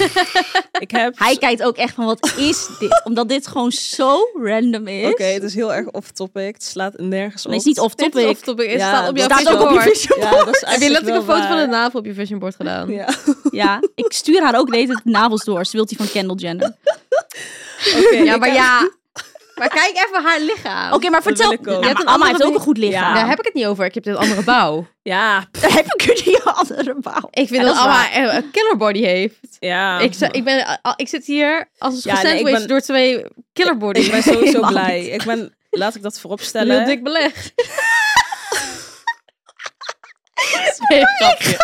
S3: ik heb,
S5: Hij kijkt ook echt van wat is dit? Omdat dit gewoon zo random is.
S3: oké, het is heel erg off topic. Het slaat nergens op.
S5: Nee, het is niet off
S4: Dit
S5: topic.
S4: is off topic. Het
S3: Ja,
S4: staat
S3: dat
S4: op jouw
S5: staat
S4: vision
S5: ook op je
S4: board.
S5: vision
S3: Ja, dat is
S4: Heb je
S3: eigenlijk
S4: letterlijk een
S3: wel
S4: foto van
S3: waar.
S4: de navel op je vision board gedaan?
S3: Ja.
S5: Ja, ik stuur haar ook de hele tijd navels door. Ze wil die van Kendall Jenner. Oké,
S3: Oké,
S4: Ja,
S3: ik
S4: maar
S3: heb-
S4: ja. Oh, Maar kijk even haar lichaam.
S5: maar
S3: Dat
S5: vertel.
S3: wil ik ook.
S5: Nou,
S3: Je
S4: hebt
S5: maar
S4: een
S5: Alma
S4: andere
S5: heeft ook een
S4: ding-
S5: goed lichaam.
S4: Daar heb ik het niet over. Ik heb dit andere bouw.
S3: Ja, pff,
S5: Daar heb ik het niet andere bouw.
S4: Ik vind
S5: Ja,
S4: dat,
S5: dat is
S4: Alma een een killer body heeft.
S3: ja.
S4: Ik, zou- ik, ben, eh, al- ik zit hier als een
S3: Ja, nee,
S4: sandwich
S3: ik ben-
S4: door twee killer bodies.
S3: Ik ben sowieso
S5: Helemaal
S3: blij.
S5: niet.
S3: Ik ben, laat ik dat vooropstellen.
S4: heel dik beleg. Nee, grapje.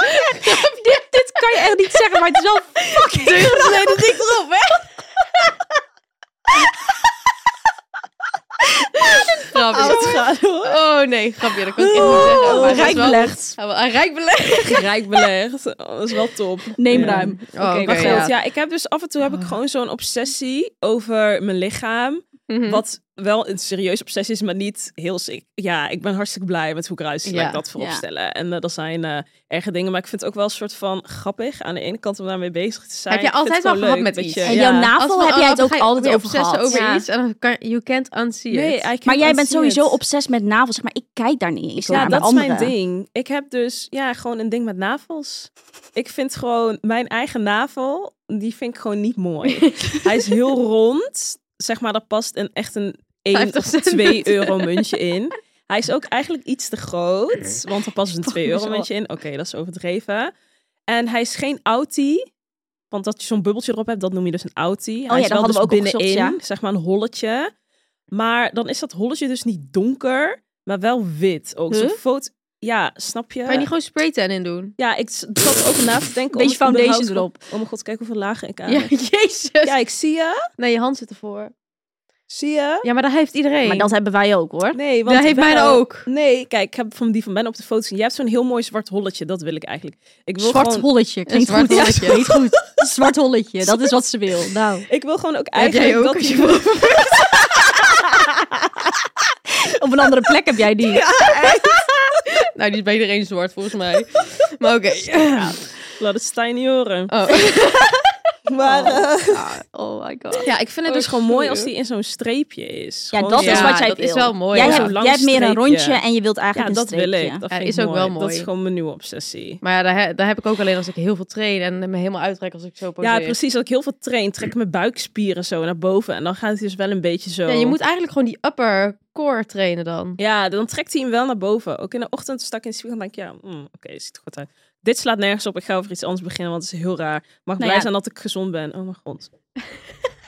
S5: dit, dit kan je echt niet zeggen, maar het is wel fucking
S4: geleden dik erop, hè?
S3: Oh, het
S4: Grapje.
S3: gaat hoor.
S4: Oh nee, grapje. Dat kan ik echt niet zeggen. maar dat is
S5: rijk
S4: wel-
S5: belegd.
S4: Ah, wel- ah, Rijk beleg.
S3: Rijk belegd. Oh, dat is wel top.
S5: Neem
S3: Ja.
S5: ruim.
S4: Oh,
S3: Oké,
S4: oké,
S3: maar
S4: ja. Ah.
S3: goed. Ja, ik heb dus af en toe heb ik gewoon zo'n obsessie over mijn lichaam.
S4: Mhm.
S3: Wat wel een serieuze obsessie is, maar niet heel sick. Ja, ik ben hartstikke blij met hoe ik eruit zie. Laat
S4: Ja,
S3: ik dat voorop
S5: ja.
S3: stellen. En eh, dat zijn eh erge dingen. Maar ik vind het ook wel een soort van grappig aan de ene kant om daarmee bezig te zijn.
S4: Heb je
S3: Ik vind het
S4: altijd wel
S3: gewoon leuk
S4: gehad met
S3: dat
S4: iets?
S3: je-
S5: En
S3: ja.
S5: jouw navel
S4: Als we-
S5: heb jij het
S4: dan
S5: ook
S4: ga je ook
S5: altijd
S4: weer
S5: over
S4: obsessen
S5: gehad.
S4: over
S5: Ja.
S4: iets en dan kan you can't unsee it.
S3: Nee, I can't
S5: Maar jij bent
S3: unsee it.
S5: sowieso obsessief met navels. Zeg maar, ik kijk daar niet eens
S3: Ja,
S5: naar bij
S3: dat is mijn
S5: anderen.
S3: ding. Ik heb dus ja, gewoon een ding met navels. Ik vind gewoon mijn eigen navel, die vind ik gewoon niet mooi. Hij is heel rond. Zeg maar, daar past een, echt een 1 of
S4: 50 cent.
S3: 2 euro muntje in. Hij is ook eigenlijk iets te groot, want er past een 2
S5: me
S3: euro
S5: zo.
S3: muntje in. Oké, dat is overdreven. En hij is geen outie. Want dat je zo'n bubbeltje erop hebt, dat noem je dus een outie. Hij
S5: Oh ja,
S3: is
S5: dat
S3: wel
S5: hadden
S3: dus
S5: we ook
S3: binnenin,
S5: opgezocht,
S3: zeg maar een holletje. Maar dan is dat holletje dus niet donker, maar wel wit. Ook zo'n
S4: Huh?
S3: foto... Ja, snap je?
S4: Kan je niet gewoon spray tan in doen?
S3: Ja, ik s- zat er over na te denken. om
S5: Beetje
S3: het überhaupt-
S5: foundation erop.
S3: Oh mijn god, kijk hoeveel lagen ik aan
S4: Ja,
S3: heb.
S4: jezus.
S3: Ja, ik zie je.
S4: Nee, je hand zit ervoor.
S3: Zie je?
S4: Ja, maar dat heeft iedereen.
S5: Maar dat hebben wij ook hoor.
S3: Nee, want
S4: dat heeft
S3: wel-
S4: mij ook.
S3: Nee, kijk, ik heb van die van Ben op de foto zien. Jij hebt zo'n heel mooi zwart holletje. Dat wil ik eigenlijk. Ik wil
S5: Zwart
S3: gewoon,
S5: holletje. Klinkt
S4: zwart
S5: goed. Ja,
S4: holletje.
S5: klinkt goed. Zwart holletje. Dat is wat ze wil. Nou.
S3: ik wil gewoon ook
S4: Heb
S3: eigenlijk
S4: jij ook
S3: dat
S4: als
S3: die-
S4: je wil-
S5: Op een andere plek heb jij die.
S4: Nou, die is bij iedereen zwart volgens mij. Maar oké.
S3: Laat het Stijn niet horen.
S4: Oh.
S3: Maar eh,
S5: Oh my god.
S3: ja, ik vind het
S4: Oh,
S3: dus gewoon mooi
S4: sorry.
S3: als die in zo'n streepje is.
S5: Ja,
S3: Gewoon
S5: dat is
S3: zo'n-
S4: Ja,
S5: wat jij
S4: dat
S5: wil.
S4: is wel mooi,
S5: Oh Jij,
S4: ja.
S5: hebt,
S3: Zo'n lang
S5: jij hebt meer een
S3: streepje.
S5: rondje en je wilt
S3: Ja,
S5: eigenlijk een
S3: dat wil
S5: streepje.
S3: ik. Dat
S4: Ja,
S3: vind
S4: is
S3: ik
S4: ook wel
S3: Dat is
S4: mooi.
S3: gewoon mijn nieuwe obsessie.
S4: Maar ja, daar, he- daar heb ik ook alleen als ik heel veel train en me helemaal uittrek als ik zo poseer.
S3: Ja, precies. Als ik heel veel train, trek ik mijn buikspieren zo naar boven. En dan gaat het dus wel een beetje zo.
S4: Ja, je moet eigenlijk gewoon die upper core trainen dan.
S3: Ja, dan trekt hij hem wel naar boven. Ook in de ochtend stak ik in de spiegel en denk ik, ja, mm, oké, ziet er goed uit. Dit slaat nergens op. Ik ga over iets anders beginnen, want het is heel raar.
S4: Nou
S3: Mag blij
S5: ja.
S3: zijn dat ik gezond ben. Oh mijn god.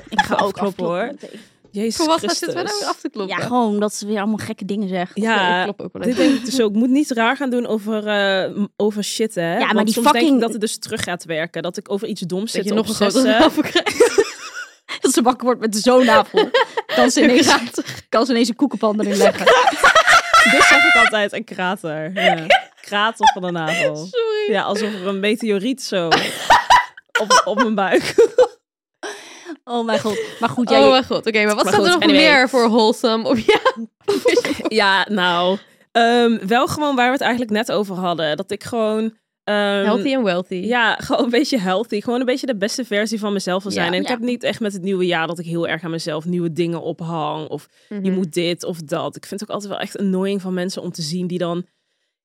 S5: Ik ga ook
S3: afkloppen, hoor.
S5: meteen.
S3: Jezus
S4: Voor wat
S3: Christus.
S4: zitten we nou weer af te kloppen?
S5: Ja, gewoon omdat ze weer allemaal gekke dingen zegt.
S4: Ja, ik
S3: Ja,
S4: klop ook wel
S3: dit
S4: even.
S3: denk ik dus ook. Ik moet niet raar gaan doen over, eh, m- over shit, hè.
S5: maar
S3: Want
S5: die
S3: soms denk ik
S5: fucking-
S3: dat het dus terug gaat werken. Dat ik over iets doms zit
S4: Dat je
S3: te
S4: nog een grotere
S3: obsessen.
S4: navel krijgt.
S5: Dat ze wakker wordt met zo'n navel. Kan ze ineens, kan ze ineens een koekenpan erin leggen.
S3: Dit zeg ik altijd, een krater. Ja. Krater van de navel.
S4: Sorry.
S3: Ja, alsof er een meteoriet zo op, op mijn buik.
S5: Oh mijn god. Maar goed, jij,
S4: oh mijn god. Oké, maar wat
S3: Maar
S4: staat er
S3: goed,
S4: nog
S3: anyway.
S4: meer voor wholesome? Of ja,
S3: Ja, nou. ehm, wel gewoon waar we het eigenlijk net over hadden. Dat ik gewoon. ehm,
S4: healthy and wealthy.
S3: Ja, gewoon een beetje healthy. Gewoon een beetje de beste versie van mezelf wil zijn.
S5: Ja.
S3: en ik
S5: Ja.
S3: heb niet echt met het nieuwe jaar dat ik heel erg aan mezelf nieuwe dingen ophang. Of
S4: Mhm.
S3: je moet dit of dat. Ik vind het ook altijd wel echt annoying van mensen om te zien die dan.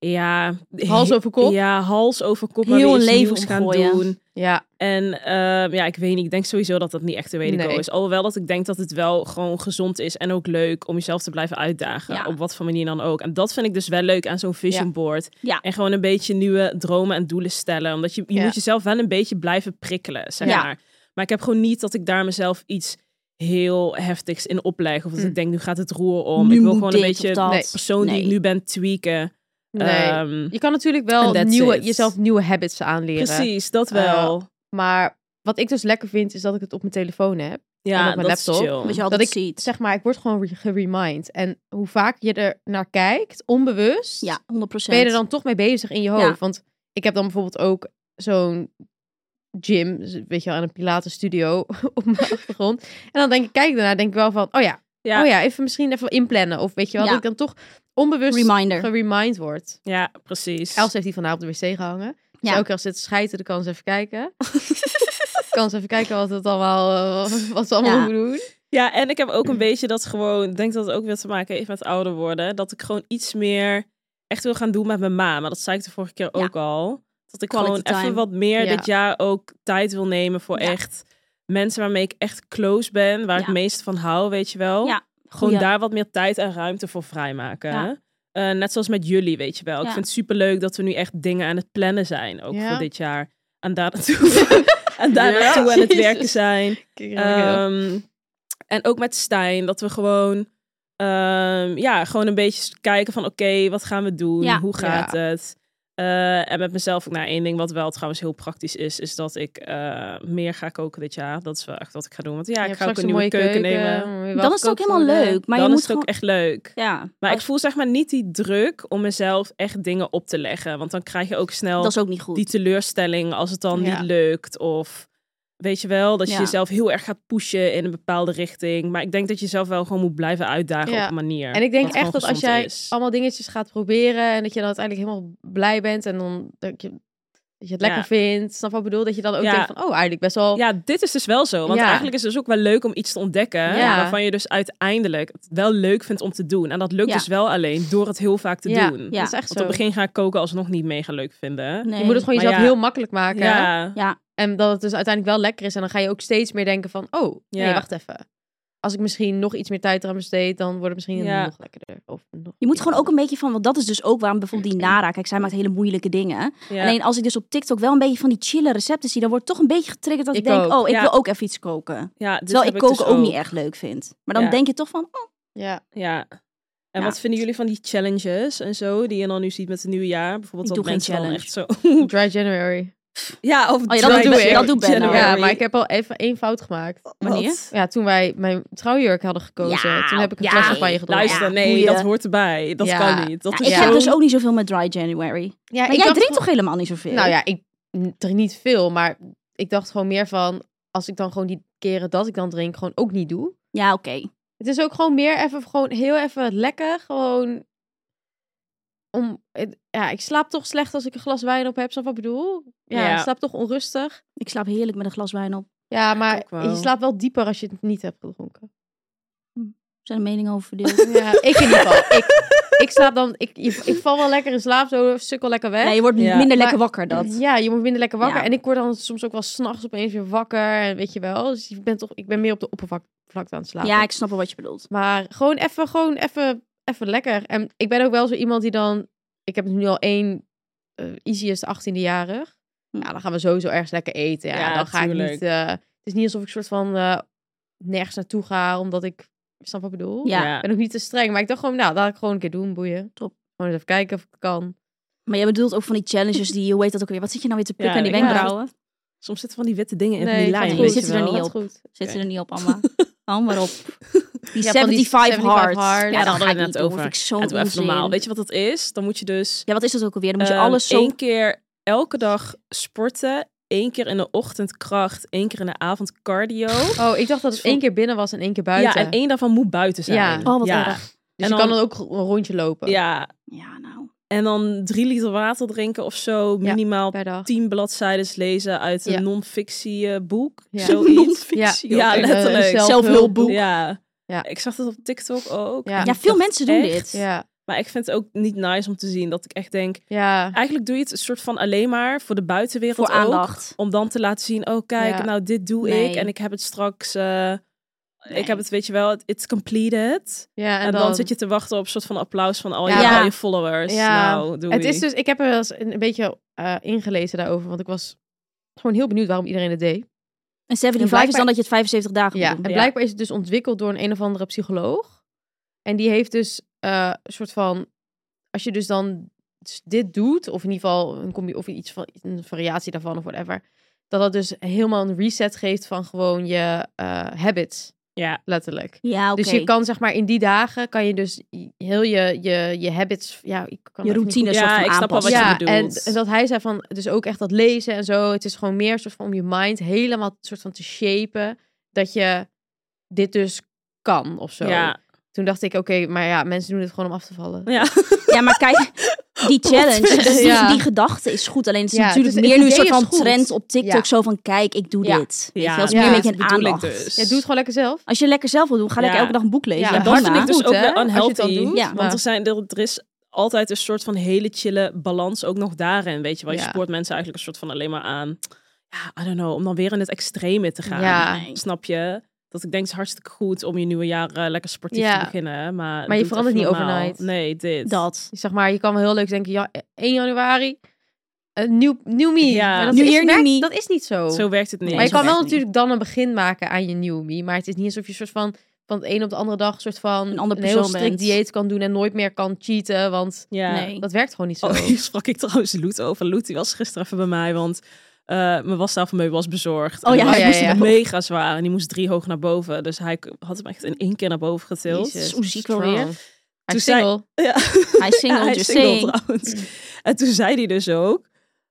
S3: Ja,
S4: Hals over kop.
S3: Ja, hals over kop. maar
S5: Heel
S3: weer iets
S5: een leven
S3: nieuws gaan
S5: omgooien.
S3: doen.
S4: Ja.
S3: En ehm, ja, ik weet niet. Ik denk sowieso dat dat niet echt de way to go
S4: Nee.
S3: is. Alhoewel dat ik denk dat het wel gewoon gezond is en ook leuk om jezelf te blijven uitdagen.
S5: Ja.
S3: Op wat voor manier dan ook. En dat vind ik dus wel leuk aan zo'n vision
S4: Ja.
S3: board.
S5: Ja.
S3: En gewoon een beetje nieuwe dromen en doelen stellen. Omdat je, je
S4: Ja.
S3: moet jezelf wel een beetje blijven prikkelen, zeg
S5: Ja.
S3: maar. Maar ik heb gewoon niet dat ik daar mezelf iets heel heftigs in opleg. Of dat
S4: Mm.
S3: ik denk, nu gaat het roer om.
S5: Nu
S3: oh. ik wil
S5: moet
S3: gewoon een
S5: dit
S3: beetje
S5: of dat.
S3: de persoon die ik
S5: Nee.
S3: nu ben tweaken.
S4: Nee.
S3: Ehm,
S4: je kan natuurlijk
S3: and
S4: wel
S3: that's
S4: nieuwe,
S3: it.
S4: jezelf nieuwe habits aanleren.
S3: precies, dat
S4: Eh,
S3: wel.
S4: Maar wat ik dus lekker vind, is dat ik het op mijn telefoon heb. en
S3: ja,
S4: op mijn
S3: dat is
S4: laptop.
S3: chill.
S5: wat je
S4: dat
S5: altijd
S4: ik
S5: ziet.
S4: zeg maar, ik word gewoon re- geremind. En hoe vaak je er naar kijkt, onbewust,
S5: ja, 100%.
S4: ben je er dan toch mee bezig in je hoofd.
S5: Ja.
S4: Want ik heb dan bijvoorbeeld ook zo'n gym, weet je wel, en een pilatenstudio op mijn achtergrond. En dan denk ik, kijk ik daarna, denk ik wel van, oh ja,
S3: Ja.
S4: oh ja, even misschien even inplannen. Of weet je wel,
S5: Ja.
S4: dat ik dan toch onbewust
S5: Reminder.
S4: geremind word.
S3: Ja, precies.
S4: Els heeft die vanavond op de wc gehangen. Dus
S5: Ja.
S4: elke keer als dit scheiden, dan kan ze even kijken. kan ze even kijken wat het allemaal, eh, wat ze allemaal
S5: Ja.
S4: moeten doen.
S3: Ja, en ik heb
S5: Mm.
S3: ook een beetje dat gewoon, ik denk dat het ook weer te maken heeft met ouder worden, dat ik gewoon iets meer echt wil gaan doen met mijn ma. Maar dat zei ik de vorige keer
S5: Ja.
S3: ook al. Dat ik
S5: Quality
S3: gewoon even
S5: time.
S3: wat meer
S4: Ja.
S3: dit jaar ook tijd wil nemen voor
S5: Ja.
S3: echt mensen waarmee ik echt close ben, waar ik
S5: Ja.
S3: het meest van hou, weet je wel.
S5: Ja,
S3: Gewoon
S5: goeie.
S3: daar wat meer tijd en ruimte voor vrijmaken.
S5: Ja.
S3: Eh, net zoals met jullie, weet je wel. Ik
S5: Ja.
S3: vind het superleuk dat we nu echt dingen aan het plannen zijn, ook
S4: Ja.
S3: voor dit jaar. En daar naartoe, en daar
S4: Ja.
S3: naartoe aan het
S4: Jezus.
S3: werken zijn.
S4: oh,
S3: Ehm, en ook met Stijn, dat we gewoon, ehm, ja, gewoon een beetje s- kijken van oké, wat gaan we doen?
S5: Ja.
S3: Hoe gaat het? Eh, en met mezelf ook naar één ding wat wel trouwens heel praktisch is, is dat ik eh, meer ga koken dit jaar. Dat is wel echt wat ik ga doen. Want ja,
S4: Je
S3: ik
S4: hebt
S3: ga ook
S4: straks
S3: een nieuwe keuken, nemen.
S4: om weer wat
S5: Dan is het ook
S4: gekookt te
S5: helemaal
S4: worden.
S5: leuk. Maar
S3: Dan
S5: je
S3: is
S5: moet
S3: het ook
S5: gewoon...
S3: echt leuk.
S5: Ja,
S3: Maar ik voel zeg maar niet die druk om mezelf echt dingen op te leggen. Want dan krijg je ook snel
S5: dat is ook niet goed.
S3: die teleurstelling als het dan
S4: Ja.
S3: niet lukt. Of Weet je wel, dat je
S5: Ja.
S3: jezelf heel erg gaat pushen in een bepaalde richting. Maar ik denk dat je jezelf wel gewoon moet blijven uitdagen
S4: Ja.
S3: op een manier.
S4: En ik denk
S3: wat
S4: echt
S3: gewoon
S4: dat als
S3: gezond
S4: jij
S3: is.
S4: allemaal dingetjes gaat proberen en dat je dan uiteindelijk helemaal blij bent en dan dat je, dat je het lekker
S3: Ja.
S4: vindt, snap wat ik bedoel? Dat je dan ook
S3: Ja.
S4: denkt van, oh, eigenlijk best wel...
S3: Ja, dit is dus wel zo. Want
S4: Ja.
S3: eigenlijk is het dus ook wel leuk om iets te ontdekken.
S4: Ja.
S3: Waarvan je dus uiteindelijk het wel leuk vindt om te doen. En dat lukt
S5: Ja.
S3: dus wel alleen door het heel vaak te
S4: Ja,
S3: doen.
S5: ja.
S4: dat is echt
S3: Want
S4: zo.
S3: op het begin ga ik koken alsnog niet mega leuk vinden.
S5: Nee.
S4: Je moet het gewoon
S3: Maar
S4: jezelf
S3: ja.
S4: heel makkelijk maken.
S3: Ja.
S4: En dat het dus uiteindelijk wel lekker is. En dan ga je ook steeds meer denken van, oh, nee,
S3: Ja.
S4: wacht even. Als ik misschien nog iets meer tijd eraan besteed, dan wordt het misschien
S3: Ja.
S4: nog lekkerder. Of nog
S5: Je moet gewoon ook een beetje van, want dat is dus ook waarom bijvoorbeeld die Nara, kijk, zij maakt hele moeilijke dingen.
S3: ja.
S5: Alleen als ik dus op TikTok wel een beetje van die chille recepten zie, dan wordt toch een beetje getriggerd dat ik,
S4: Ik
S5: denk,
S4: ook,
S5: oh, ik
S3: ja.
S5: wil ook even iets koken.
S3: Ja, dit
S5: Terwijl
S3: heb
S5: ik koken
S3: dus
S5: ook, niet echt leuk vind. Maar dan
S3: Ja.
S5: denk je toch van, oh,
S4: Ja.
S3: Ja. En
S5: Ja.
S3: wat vinden jullie van die challenges en zo, die je dan nu ziet met het nieuwe jaar? Bijvoorbeeld
S5: Ik
S3: dat
S5: doe
S3: mensen
S5: geen
S3: dan echt zo...
S4: Dry January.
S3: ja, of
S5: Oh ja, dat
S3: dry
S5: doe ik. Dat doe Ben
S3: January.
S5: al.
S4: Ja, maar ik heb al even één fout gemaakt.
S3: Wat?
S4: Ja, toen wij mijn trouwjurk hadden gekozen,
S5: Ja,
S4: toen heb ik een
S5: ja.
S4: fles champagne gedronken.
S3: Luister, nee,
S5: boeien.
S3: dat hoort erbij. Dat
S4: Ja.
S3: kan niet. Dat
S5: ja,
S3: is
S5: ik
S3: zo...
S5: heb dus ook niet zoveel met dry January.
S4: Ja,
S5: Maar jij drinkt toch helemaal niet zoveel?
S4: Nou ja, ik drink niet veel, maar ik dacht gewoon meer van als ik dan gewoon die keren dat ik dan drink gewoon ook niet doe.
S5: Ja, oké.
S4: Het is ook gewoon meer even gewoon heel even lekker gewoon om het- ja, ik slaap toch slecht als ik een glas wijn op heb, snap wat ik bedoel? Ja,
S3: Ja.
S4: ik slaap toch onrustig.
S5: Ik slaap heerlijk met een glas wijn op.
S4: Ja,
S3: ook
S4: maar
S3: wel.
S4: je slaapt wel dieper als je het niet hebt gedronken.
S5: Er zijn er meningen over verdeeld.
S4: Ja, ik in ieder geval. Ik, ik slaap dan ik, ik val wel lekker in slaap, zo sukkel lekker weg.
S5: Nee, je wordt
S3: Ja.
S5: minder lekker
S4: Maar-
S5: wakker dat.
S4: Ja, je wordt minder lekker wakker.
S5: Ja.
S4: En ik word dan soms ook wel s'nachts opeens weer wakker. En weet je wel. Dus ik ben, toch, ik ben meer op de oppervlakte aan het slapen.
S5: Ja, ik snap wel wat je bedoelt.
S4: Maar gewoon even, gewoon even, even lekker. En ik ben ook wel zo iemand die dan... Ik heb nu al één eh, easiest 18e-jarig. Ja, Nou, dan gaan we sowieso ergens lekker eten. Ja,
S3: Ja,
S4: dan ga
S3: tuurlijk.
S4: ik niet... eh, het is niet alsof ik soort van eh, nergens naartoe ga, omdat ik... Snap wat ik bedoel?
S5: Ja.
S4: Ik ben ook niet te streng, maar ik dacht gewoon, nou, laat ik gewoon een keer doen, boeien.
S5: Top.
S4: Gewoon eens even kijken of ik kan.
S5: Maar jij bedoelt ook van die challenges die, hoe heet dat ook weer? Wat zit je nou weer te
S3: Ja,
S5: plukken aan die
S3: ik- ja.
S5: wenkbrauwen?
S3: Soms zitten van die witte dingen in die
S4: ik vond
S3: lijn.
S4: het
S5: Die
S4: goed.
S3: weet je
S5: zitten er
S3: wel.
S5: niet
S4: Vond het goed.
S5: Zit ze er niet op, Amma? Hou maar op. Die
S4: Ja, van die
S5: 75,
S4: 75
S5: hard.
S4: hard. Ja, daar
S5: Ja, dat
S3: hadden
S5: ga
S3: we
S5: ik
S3: het
S5: niet
S3: net
S5: doen.
S3: over.
S5: Vind ik zo
S3: Ja, doe even
S5: onzin.
S3: normaal. Weet je wat dat is? Dan moet je dus
S5: Ja, wat is dat ook alweer? Dan moet je
S3: eh,
S5: alles zo...
S3: één keer elke dag sporten, één keer in de ochtend kracht, één keer in de avond cardio.
S4: Oh, ik dacht dat het
S3: Vond-
S4: één keer binnen was en één keer buiten.
S3: Ja, en één daarvan moet buiten zijn.
S4: Ja.
S5: Oh, wat
S3: ja.
S5: erg.
S3: en
S4: Dus je kan
S3: dan-
S4: dan ook een rondje lopen
S3: Ja,
S5: Ja, nou.
S3: en dan drie liter water drinken of zo,
S4: Ja.
S3: minimaal
S4: per dag.
S3: tien bladzijden lezen uit een
S4: Ja.
S3: non-fictie eh, boek.
S4: Ja.
S3: Zoiets.
S4: Ja,
S3: Ja,
S4: Een, eh,
S3: letterlijk.
S4: zelfhulp-
S5: Zelfhulpboek.
S3: Ja.
S4: Ja.
S3: ik zag dat op TikTok ook.
S4: Ja.
S5: Ja, veel mensen doen
S3: echt?
S5: dit.
S4: Ja,
S3: Maar ik vind het ook niet nice om te zien dat ik echt denk...
S4: ja.
S3: Eigenlijk doe je het een soort van alleen maar voor de buitenwereld
S5: Voor
S3: ook.
S5: aandacht.
S3: Om dan te laten zien, oh kijk,
S4: Ja.
S3: nou dit doe
S5: Nee.
S3: ik. En ik heb het straks... eh,
S5: Nee.
S3: Ik heb het, weet je wel, het- it's completed.
S4: ja
S3: En, dan, zit je te wachten op een soort van applaus van al, je,
S4: Ja.
S3: al je followers.
S4: Ja.
S3: Nou, doei.
S4: Het is dus, ik heb er wel eens een, een beetje eh, ingelezen daarover, want ik was gewoon heel benieuwd waarom iedereen het deed.
S5: En
S4: En
S5: 75 is
S4: blijkbaar-
S5: dan dat je het 75 dagen
S4: Ja, en
S5: moet doen.
S4: blijkbaar is het dus ontwikkeld door een, een of andere psycholoog. En die heeft dus eh, een soort van, als je dus dan s- dit doet, of in ieder geval een, combi- of iets van, een variatie daarvan of whatever, dat dat dus helemaal een reset geeft van gewoon je eh, habits,
S3: Ja,
S4: letterlijk.
S5: Ja, oké.
S4: Dus je kan zeg maar in die dagen kan je dus i- heel je, je, je habits, ja, ik kan
S5: Je
S4: het niet
S5: routine
S3: Ja,
S5: soort van
S3: ik snap wel
S5: aanpassen.
S3: wat je
S4: ja, en,
S3: bedoelt.
S4: en dat hij zei van, dus ook echt dat lezen en zo. Het is gewoon meer soort van om je mind helemaal soort van te shapen. Dat je dit dus kan of zo.
S3: ja,
S4: Toen dacht ik, oké, maar ja, mensen doen het gewoon om af te vallen.
S3: ja.
S5: Ja, maar kijk, die challenge, die,
S4: Ja.
S5: die gedachte is goed. Alleen het is
S4: Ja,
S5: natuurlijk
S4: het is-
S5: meer
S4: het
S5: nu een
S4: idee
S5: soort van
S4: is goed.
S5: trend op TikTok.
S4: Ja.
S5: Zo van, kijk, ik doe
S4: Ja.
S5: dit. Weet
S3: Ja,
S5: je, dat is
S4: ja,
S5: meer een beetje
S3: dat
S5: een
S3: bedoel ik
S5: aandacht.
S3: dus.
S4: Ja, doe het gewoon lekker zelf.
S5: Als je lekker zelf wil doen, ga lekker
S3: Ja.
S5: elke dag een boek lezen.
S4: Ja,
S5: Ja,
S4: dat
S3: dat vind
S5: prima.
S3: ik dus
S4: Goed,
S3: ook
S4: hè,
S3: weer
S4: als je het
S3: unhealthy.
S4: dan doet,
S5: Ja.
S3: Want
S4: maar-
S3: er, zijn, er, er is altijd een soort van hele chille balans ook nog daarin, weet je wel. Je
S4: Ja.
S3: spoort mensen eigenlijk een soort van alleen maar aan, ja, I don't know, om dan weer in het extreme te gaan.
S4: Ja.
S5: Nee.
S3: Snap je? Dat ik denk, het is hartstikke goed om je nieuwe jaar eh, lekker sportief
S4: Ja.
S3: te beginnen. Maar, doe
S4: je
S3: het
S4: verandert
S3: even
S4: niet
S3: normaal.
S4: overnight.
S3: Nee, dit.
S5: Dat.
S4: Zeg maar, je kan wel heel leuk denken, ja, 1 januari, een nieuw, nieuw me.
S3: Ja.
S4: Maar dat
S5: New
S4: is,
S5: year, new
S4: werkt-
S5: me.
S4: Dat is niet zo.
S3: Zo werkt het niet.
S4: maar je
S5: zo
S4: kan wel
S5: werkt het
S4: natuurlijk dan een begin maken aan je nieuwe me. Maar het is niet alsof je soort van van het een op de andere dag soort van
S5: Een ander
S4: heel
S5: persoon
S4: strikt
S5: bent.
S4: dieet kan doen en nooit meer kan cheaten, want
S3: Ja.
S5: Nee.
S4: dat werkt gewoon niet zo.
S3: Oh, hier sprak ik trouwens Loet over. Loet die was gisteren even bij mij, want eh mijn wastafelmeuble was bezorgd.
S5: Oh
S3: En
S5: ja,
S3: die was
S4: ja, ja, ja.
S3: mega zwaar en die moest drie hoog naar boven. Dus hij k- had hem echt in één keer naar boven getild.
S4: Jezus,
S5: Hoe ziek wel
S4: strong.
S5: weer.
S4: Hij
S3: Toen
S4: is
S3: zei-
S4: single.
S3: Ja.
S5: Hij is single,
S3: Ja, hij
S5: just
S3: is single
S5: saying.
S3: trouwens. En toen zei hij dus ook...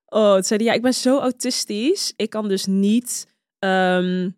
S3: Oh, toen zei hij, ja, ik ben zo autistisch. Ik kan dus niet ehm,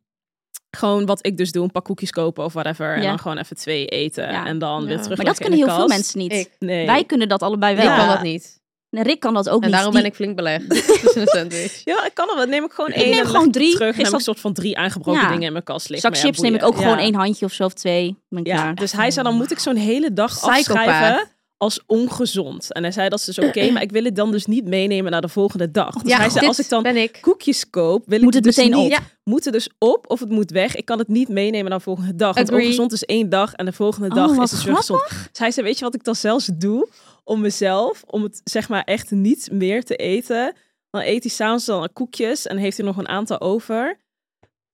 S3: gewoon wat ik dus doe, een pak koekjes kopen of whatever. En
S5: Ja.
S3: dan gewoon even twee eten
S5: Ja.
S3: en dan weer
S4: Ja.
S3: terug.
S5: Maar dat kunnen heel veel mensen niet.
S4: Ik.
S3: Nee.
S5: Wij kunnen dat allebei wel.
S4: Ik kan
S3: Ja.
S4: dat niet.
S5: En Rick kan dat ook
S4: En
S5: niet.
S4: daarom
S5: Die-
S4: ben ik flink belegd. tussen een sandwich.
S3: Ja, ik kan wel. Dan neem ik gewoon
S5: Ik
S3: één.
S5: neem
S3: en leg
S5: gewoon
S3: het
S5: drie.
S3: Terug en dan
S5: Is
S3: heb ik
S5: dat-
S3: een soort van drie aangebroken
S5: Ja.
S3: dingen in mijn kast liggen.
S5: zak
S3: Maar ja,
S5: chips neem ik
S3: boeien.
S5: ook gewoon
S3: Ja.
S5: één handje of zo of twee. Ben ik
S3: Ja,
S5: klaar.
S3: dus hij zei dan moet ik zo'n hele dag afschrijven als ongezond. En hij zei dat is dus oké, maar ik wil het dan dus niet meenemen naar de volgende dag. Dus
S4: Ja,
S3: hij zei
S4: dit
S3: als ik dan
S4: ben ik.
S3: koekjes koop, wil
S5: Moet
S3: ik
S5: het
S3: dus
S5: meteen
S3: niet-
S5: op?
S4: Ja.
S3: Moet het dus op of het moet weg. Ik kan het niet meenemen naar de volgende dag. Want
S4: Agree.
S3: ongezond is één dag en de volgende
S5: Oh,
S3: dag
S5: wat
S3: is het weer gezond. Dus hij zei, weet je wat ik dan zelfs doe? Om mezelf, om het zeg maar echt niet meer te eten. Dan eet hij s'avonds dan koekjes en heeft hij nog een aantal over.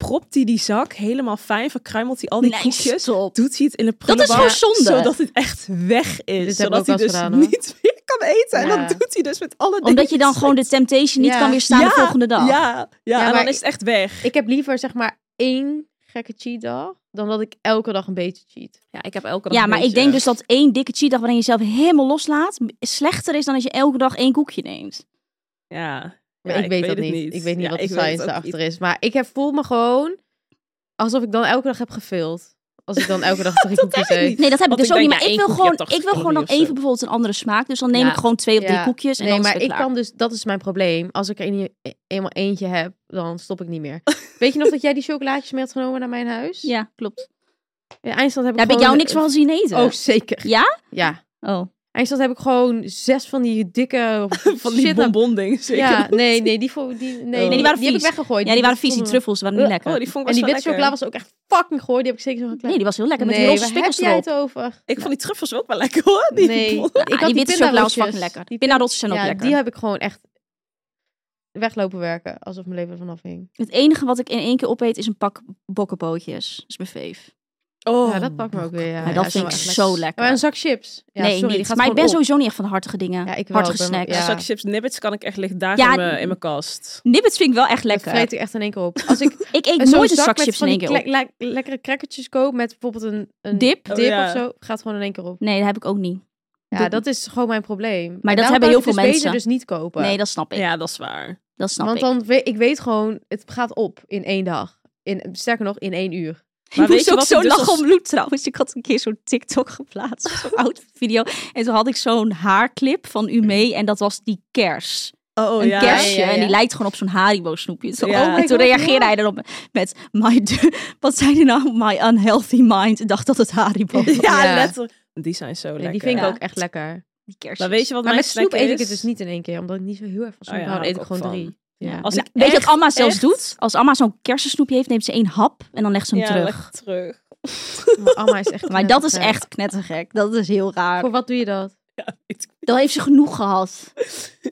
S3: Propt hij die zak helemaal fijn, verkruimelt hij al die
S5: Nee,
S3: koekjes.
S5: stop.
S3: Doet hij het in de
S5: Dat is
S3: prullenbak,
S5: gewoon zonde.
S3: Zodat het echt weg is.
S4: Dit heb ik
S3: zodat hij
S4: ook wel
S3: dus
S4: eens gedaan, hoor.
S3: niet meer kan eten. En
S4: Ja.
S3: dat doet hij dus met alle dingen.
S5: Omdat je dan
S3: die-
S5: gewoon de temptation niet
S4: Ja.
S5: kan weerstaan de volgende dag.
S3: Ja, ja,
S4: Ja,
S3: en dan
S4: maar-
S3: is het echt weg.
S4: Ik heb liever zeg maar één gekke cheat dag dan dat ik elke dag een beetje cheat.
S3: Ja, ik heb elke
S5: Ja, maar ik denk dus dat één dikke cheatdag waarin je jezelf helemaal loslaat, slechter is dan als je elke dag één koekje neemt.
S3: Ja,
S4: Maar
S3: Ja,
S4: ik,
S3: ik
S4: weet
S3: weet
S4: dat
S3: het
S4: niet.
S3: niet.
S4: Ik weet niet
S3: Ja,
S4: wat de
S3: ik weet het
S4: science
S3: ook
S4: daarachter is. Maar ik heb, voel me gewoon alsof ik dan elke dag heb gefaild. Als ik dan elke dag drie koekjes
S3: heb ik
S4: eet.
S3: niet.
S5: Nee, dat heb
S3: Want
S5: ik dus
S3: ik
S5: ook
S3: denk, ja,
S5: niet. Maar ik
S3: één
S5: wil
S3: koekje hebt
S5: gewoon,
S3: 80
S5: ik wil gewoon dan
S3: calorieën of
S5: even
S3: zo.
S5: bijvoorbeel een andere smaak. Dus dan neem
S4: Ja.
S5: ik gewoon twee of drie
S4: Ja.
S5: koekjes en
S4: nee,
S5: dan is
S4: maar
S5: het
S4: ik
S5: weer klaar.
S4: kan dus, dat is mijn probleem. Als ik er een- e- eenmaal eentje heb, dan stop ik niet meer. Weet je nog dat jij die chocolaatjes mee had genomen naar mijn huis?
S5: Ja, klopt.
S4: In Eindstand heb ik
S5: Daar heb ik
S4: gewoon-
S5: jou niks van zien eten.
S4: Oh, zeker.
S5: Ja?
S4: Ja.
S5: Oh.
S4: Eindstand heb ik gewoon zes van die dikke
S3: Van die
S4: shit naar-
S3: bonbonding zeker. Oh,
S4: Ja, nee, nee, die, vo- die, nee,
S3: die
S4: die,
S5: waren
S4: die heb ik
S5: vies.
S4: weggegooid.
S5: Ja, die waren vies, die
S4: vonden-
S5: truffels, die waren niet lekker.
S3: Oh, die vond ik
S4: En
S3: best
S4: die
S3: wel
S4: witte chocola
S3: lekker.
S4: was ook echt fucking goor. Die heb ik zeker nog
S5: Nee,
S4: geklemd.
S5: die was heel lekker met
S4: Nee,
S5: die roze
S4: waar heb
S5: spikkels
S4: jij
S5: erop.
S4: het over?
S3: Ik vond die truffels wel lekker hoor. Die
S4: Nee.
S3: bon-
S5: Ja, die witte chocola was
S4: pindaroosjes.
S5: fucking lekker. Die pindarotjes zijn ook
S4: ja,
S5: lekker.
S4: die heb ik gewoon echt weglopen werken. Alsof mijn leven ervan afhing.
S5: Het enige wat ik in één keer opeet is een pak bokkenbootjes. Dat is mijn fave.
S3: Oh,
S4: Ja, dat pakt me ook weer. Ja,
S5: Maar
S4: Ja,
S5: dat vind ik
S4: maar-
S5: zo lekker.
S4: Maar Oh, een zak chips. Ja,
S5: nee,
S4: sorry, die
S5: niet.
S4: gaat
S5: maar ik ben
S4: gewoon op.
S5: sowieso niet echt van de hartige dingen.
S4: Ja, ik wel.
S5: Hartige
S4: Ik ben-
S5: snacks.
S3: Een
S4: ja.
S3: zak chips nibbits kan ik echt liggen dagen
S5: Ja,
S3: in mijn-
S5: die-
S3: in mijn kast.
S5: Nibbits vind ik wel echt
S4: Dat
S5: lekker.
S4: vreet ik echt in één keer op. Als ik
S5: Ik eet
S4: zo'n
S5: nooit een
S4: zak
S5: zak
S4: met
S5: chips
S4: van
S5: in één
S4: die
S5: keer op.
S4: kle- le- lekkere crackertjes koop met bijvoorbeeld een, een
S5: Dip?
S3: Oh,
S4: dip
S3: ja.
S4: of zo, gaat gewoon in één keer op.
S5: Nee, dat heb ik ook niet.
S4: Ja,
S5: Doe-
S4: dat is gewoon mijn probleem.
S5: dat
S4: En daarom
S5: hebben
S4: kan
S5: heel
S4: ik het
S5: veel
S4: dus
S5: mensen.
S4: beter dus niet kopen.
S5: Nee, dat snap ik.
S3: Ja, dat is waar.
S5: Dat snap
S4: Want
S5: ik.
S4: dan weet ik weet gewoon, het gaat op in één dag. In, sterker nog, in één uur.
S3: Maar
S5: ik
S3: weet
S5: moest
S3: je
S5: ook
S3: wat ik
S5: zo
S3: dus
S5: lachen
S3: als-
S5: om Loet trouwens. Ik had een keer zo'n TikTok geplaatst. Zo'n oud video. En toen had ik zo'n haarclip van u mee. En dat was die kers.
S3: Oh
S5: een
S3: ja.
S5: kersje.
S4: Ja, ja, ja.
S5: En die lijkt gewoon op zo'n Haribo snoepje. Zo,
S3: Ja. Oh
S5: en
S4: my
S5: toen
S4: God,
S5: reageerde
S4: ja.
S5: hij erop met... My, de- wat zei hij nou? My unhealthy mind dacht dat het Haribo was.
S3: Ja,
S4: Ja.
S3: letterlijk. Die zijn zo lekker.
S4: die vind ik
S5: Ja.
S4: ook echt lekker.
S5: Die kersjes.
S3: Maar weet je wat
S4: maar
S3: mijn
S4: met snoep
S3: snack
S4: eet ik
S3: is?
S4: het dus niet in één keer, omdat ik niet zo heel erg van snoep
S3: Oh ja,
S4: hou. Dan
S3: hou
S4: eet ik
S3: ik
S4: gewoon
S3: ook van.
S4: drie. Ja.
S3: Als
S5: Nou,
S3: ik
S5: weet je
S3: echt-
S5: wat Amma zelfs
S3: echt-
S5: doet? Als Amma zo'n kersensnoepje heeft, neemt ze één hap en dan legt ze hem
S3: ja,
S5: terug.
S3: lekker terug.
S4: Oh, Maar Amma is echt
S5: Maar dat is
S4: knettergek.
S5: echt knettergek. Dat is heel raar.
S4: Voor wat doe je dat?
S5: Dan heeft ze genoeg gehad.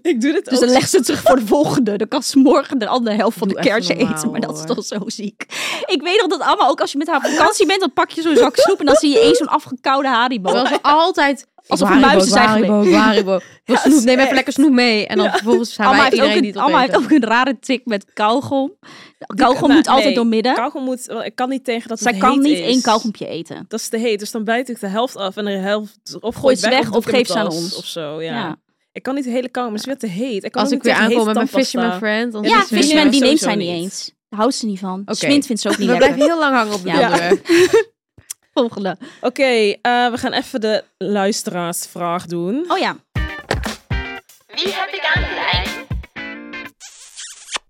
S3: Ik doe dit
S5: Dus
S3: ook.
S5: dan legt ze het terug voor de volgende. Dan kan ze morgen de andere helft van
S4: Doe
S5: de
S4: even
S5: kersen
S4: normaal,
S5: eten. Maar dat is
S4: hoor.
S5: toch zo ziek. Ik weet nog dat Amma ook als je met haar op vakantie bent, dan pak je zo'n zak snoep en dan zie je eens zo'n afgekoude Haribo.
S4: Terwijl ze altijd...
S5: Alsof
S4: Ik
S5: er
S4: wil
S5: muizen zijn
S4: Haribo, Haribo, Haribo. Ik wil
S3: Ja,
S4: snoep,
S3: is
S4: neem even
S3: echt.
S4: lekker snoep mee. En dan vervolgens zijn
S5: Amma,
S4: wij
S5: heeft ook,
S4: iedereen
S5: een,
S4: die het
S5: Amma heeft
S4: opeten.
S5: ook een rare trick met kauwgom. Kauwgom
S3: nou,
S5: moet altijd
S3: nee,
S5: doormidden.
S3: Kauwgom moet... want Ik kan niet tegen dat
S5: Zij
S3: het
S5: kan
S3: heet
S5: niet
S3: is.
S5: één kauwgompje eten.
S3: Dat is te heet. Dus dan bijt ik de helft af en de helft... Of
S5: Gooi ze
S3: ik
S5: weg
S3: doe
S5: of
S3: ik in
S5: geef
S3: mijn
S5: ze aan
S3: tas
S5: ons.
S3: Of zo, ja.
S5: Ja.
S3: Ik kan niet de hele kauwgom. Het is weer te heet. Ik kan
S4: Als
S3: ook
S4: ik weer
S3: niet tegen
S4: aankom met mijn
S3: hete
S4: Fisherman
S3: tandpasta.
S4: friend... dan
S5: Ja,
S4: is het-
S5: Fishman die
S3: sowieso
S5: neemt zij niet
S3: niet.
S5: eens. Daar houdt ze niet van.
S4: Oké.
S5: Smint vindt ze ook niet
S4: We
S5: lekker.
S4: blijven heel lang hangen op de
S5: Ja.
S4: onderwerp.
S5: Volgende.
S3: Oké, eh, we gaan even de luisteraarsvraag doen.
S5: Oh ja.
S1: Wie heb ik aan de lijn?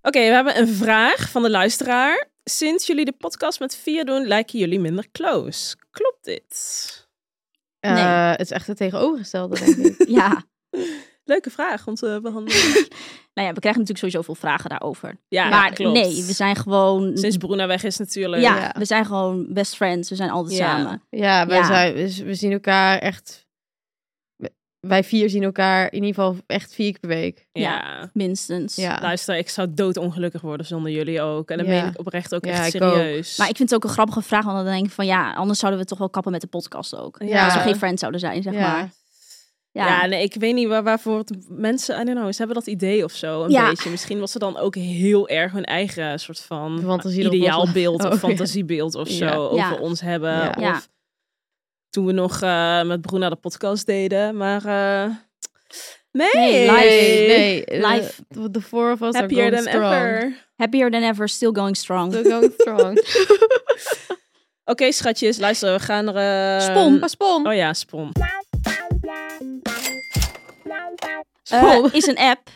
S3: Oké, we hebben een vraag van de luisteraar. Sinds jullie de podcast met vier doen, lijken jullie minder close. Klopt dit?
S5: Nee.
S4: Eh, Het is echt het tegenovergestelde, denk ik.
S5: Ja.
S3: Leuke vraag om te behandelen.
S5: Nou ja, we krijgen natuurlijk sowieso veel vragen daarover.
S3: Ja,
S5: maar
S3: klopt.
S5: nee, we zijn gewoon...
S3: Sinds Bruna weg is natuurlijk.
S5: ja,
S4: ja.
S5: we zijn gewoon best friends. We zijn altijd
S3: Ja.
S5: samen.
S4: Ja, wij
S5: Ja.
S4: Zijn, we, we zien elkaar echt... we- Wij vier zien elkaar in ieder geval echt vier keer per week.
S3: Ja.
S5: Minstens.
S4: Ja.
S3: Luister, ik zou doodongelukkig worden zonder jullie ook. En dat
S4: Ja.
S3: meen ik oprecht ook
S4: Ja,
S3: echt
S4: ik ook.
S3: serieus.
S5: Maar ik vind het ook een grappige vraag. Want dan denk ik van ja, anders zouden we toch wel kappen met de podcast ook.
S4: Ja.
S5: Als we geen friends zouden zijn, zeg
S4: Ja.
S5: maar.
S3: ja.
S5: Ja. ja.
S3: nee, ik weet niet waar, waarvoor het mensen, I don't know, ze hebben dat idee of zo een
S5: Ja.
S3: beetje. Misschien was ze dan ook heel erg hun eigen soort van
S4: Fantasie erop
S3: ideaalbeeld
S4: loslaten.
S3: of
S4: Oh, ja.
S3: fantasiebeeld of zo
S4: Ja.
S3: over
S5: Ja.
S3: ons hebben.
S4: Ja.
S3: Of
S5: Ja.
S3: toen we nog eh, met Bruna de podcast deden. Maar eh, Nee.
S5: Nee,
S4: Nee, nee. eh,
S5: Life.
S4: The, the four of us
S3: Happier
S4: are
S3: than
S4: going strong.
S3: ever.
S5: Happier than ever, still going strong.
S4: Still going strong.
S3: Oké, schatjes, luister, we gaan er... eh,
S5: Spon.
S4: Maar Spon.
S3: Oh ja, spon.
S5: Eh,
S4: Spon.
S5: is een app.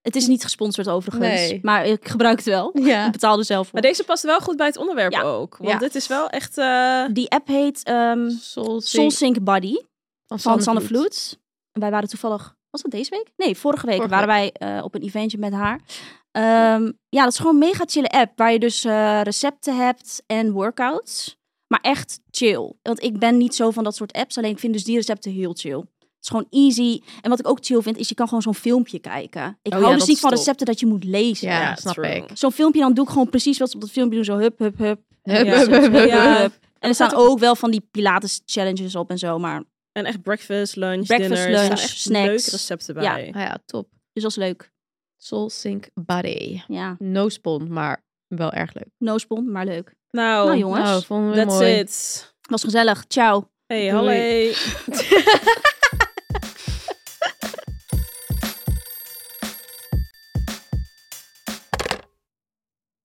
S5: Het is niet gesponsord overigens,
S4: Nee.
S5: maar ik gebruik het wel.
S4: Ja.
S5: Ik betaalde zelf voor.
S3: Maar deze past wel goed bij het onderwerp
S5: Ja.
S3: ook. Want
S4: Ja.
S3: dit is wel echt... eh,
S5: Die app heet ehm
S4: Soul
S5: SoulSync Body
S4: van
S5: van Sanne
S4: Sanne Vloed.
S5: Vloed. En Wij waren toevallig, was dat deze week? Nee, vorige week
S4: Vorige
S5: waren wij eh, op een eventje met haar. Ehm, ja, dat is gewoon een mega chille app waar je dus eh, recepten hebt en workouts. Maar echt chill. Want ik ben niet zo van dat soort apps, alleen ik vind dus die recepten heel chill. Het is gewoon easy. En wat ik ook chill vind, is je kan gewoon zo'n filmpje kijken. Ik
S4: Oh
S5: hou
S4: ja,
S5: dus
S4: dat
S5: niet
S4: is
S5: van
S4: top.
S5: recepten dat je moet lezen.
S4: Ja,
S3: Ja,
S4: snap
S3: true.
S4: ik.
S5: Zo'n filmpje, dan doe ik gewoon precies wat ze op dat filmpje doen. Zo hup, hup, hup.
S4: Hup,
S3: Ja.
S4: hup, hup, hup,
S3: Ja.
S4: hup.
S5: En er staan ook wel van die Pilates challenges op en zo. Maar
S3: En echt breakfast, lunch,
S5: Breakfast,
S3: dinner. Er staan
S5: lunch,
S3: echt
S5: snacks.
S3: leuke recepten bij.
S4: Ah ja, top.
S5: dus dat is leuk.
S4: Soul Sync Body.
S5: Ja,
S4: No Spon, maar wel erg leuk. Oh,
S5: no spon, maar leuk.
S3: Nou,
S5: Nou jongens,
S4: Nou, vonden we
S3: that's
S4: mooi.
S3: it.
S5: was gezellig. Ciao.
S3: Hey,
S4: Doei.
S3: hallo.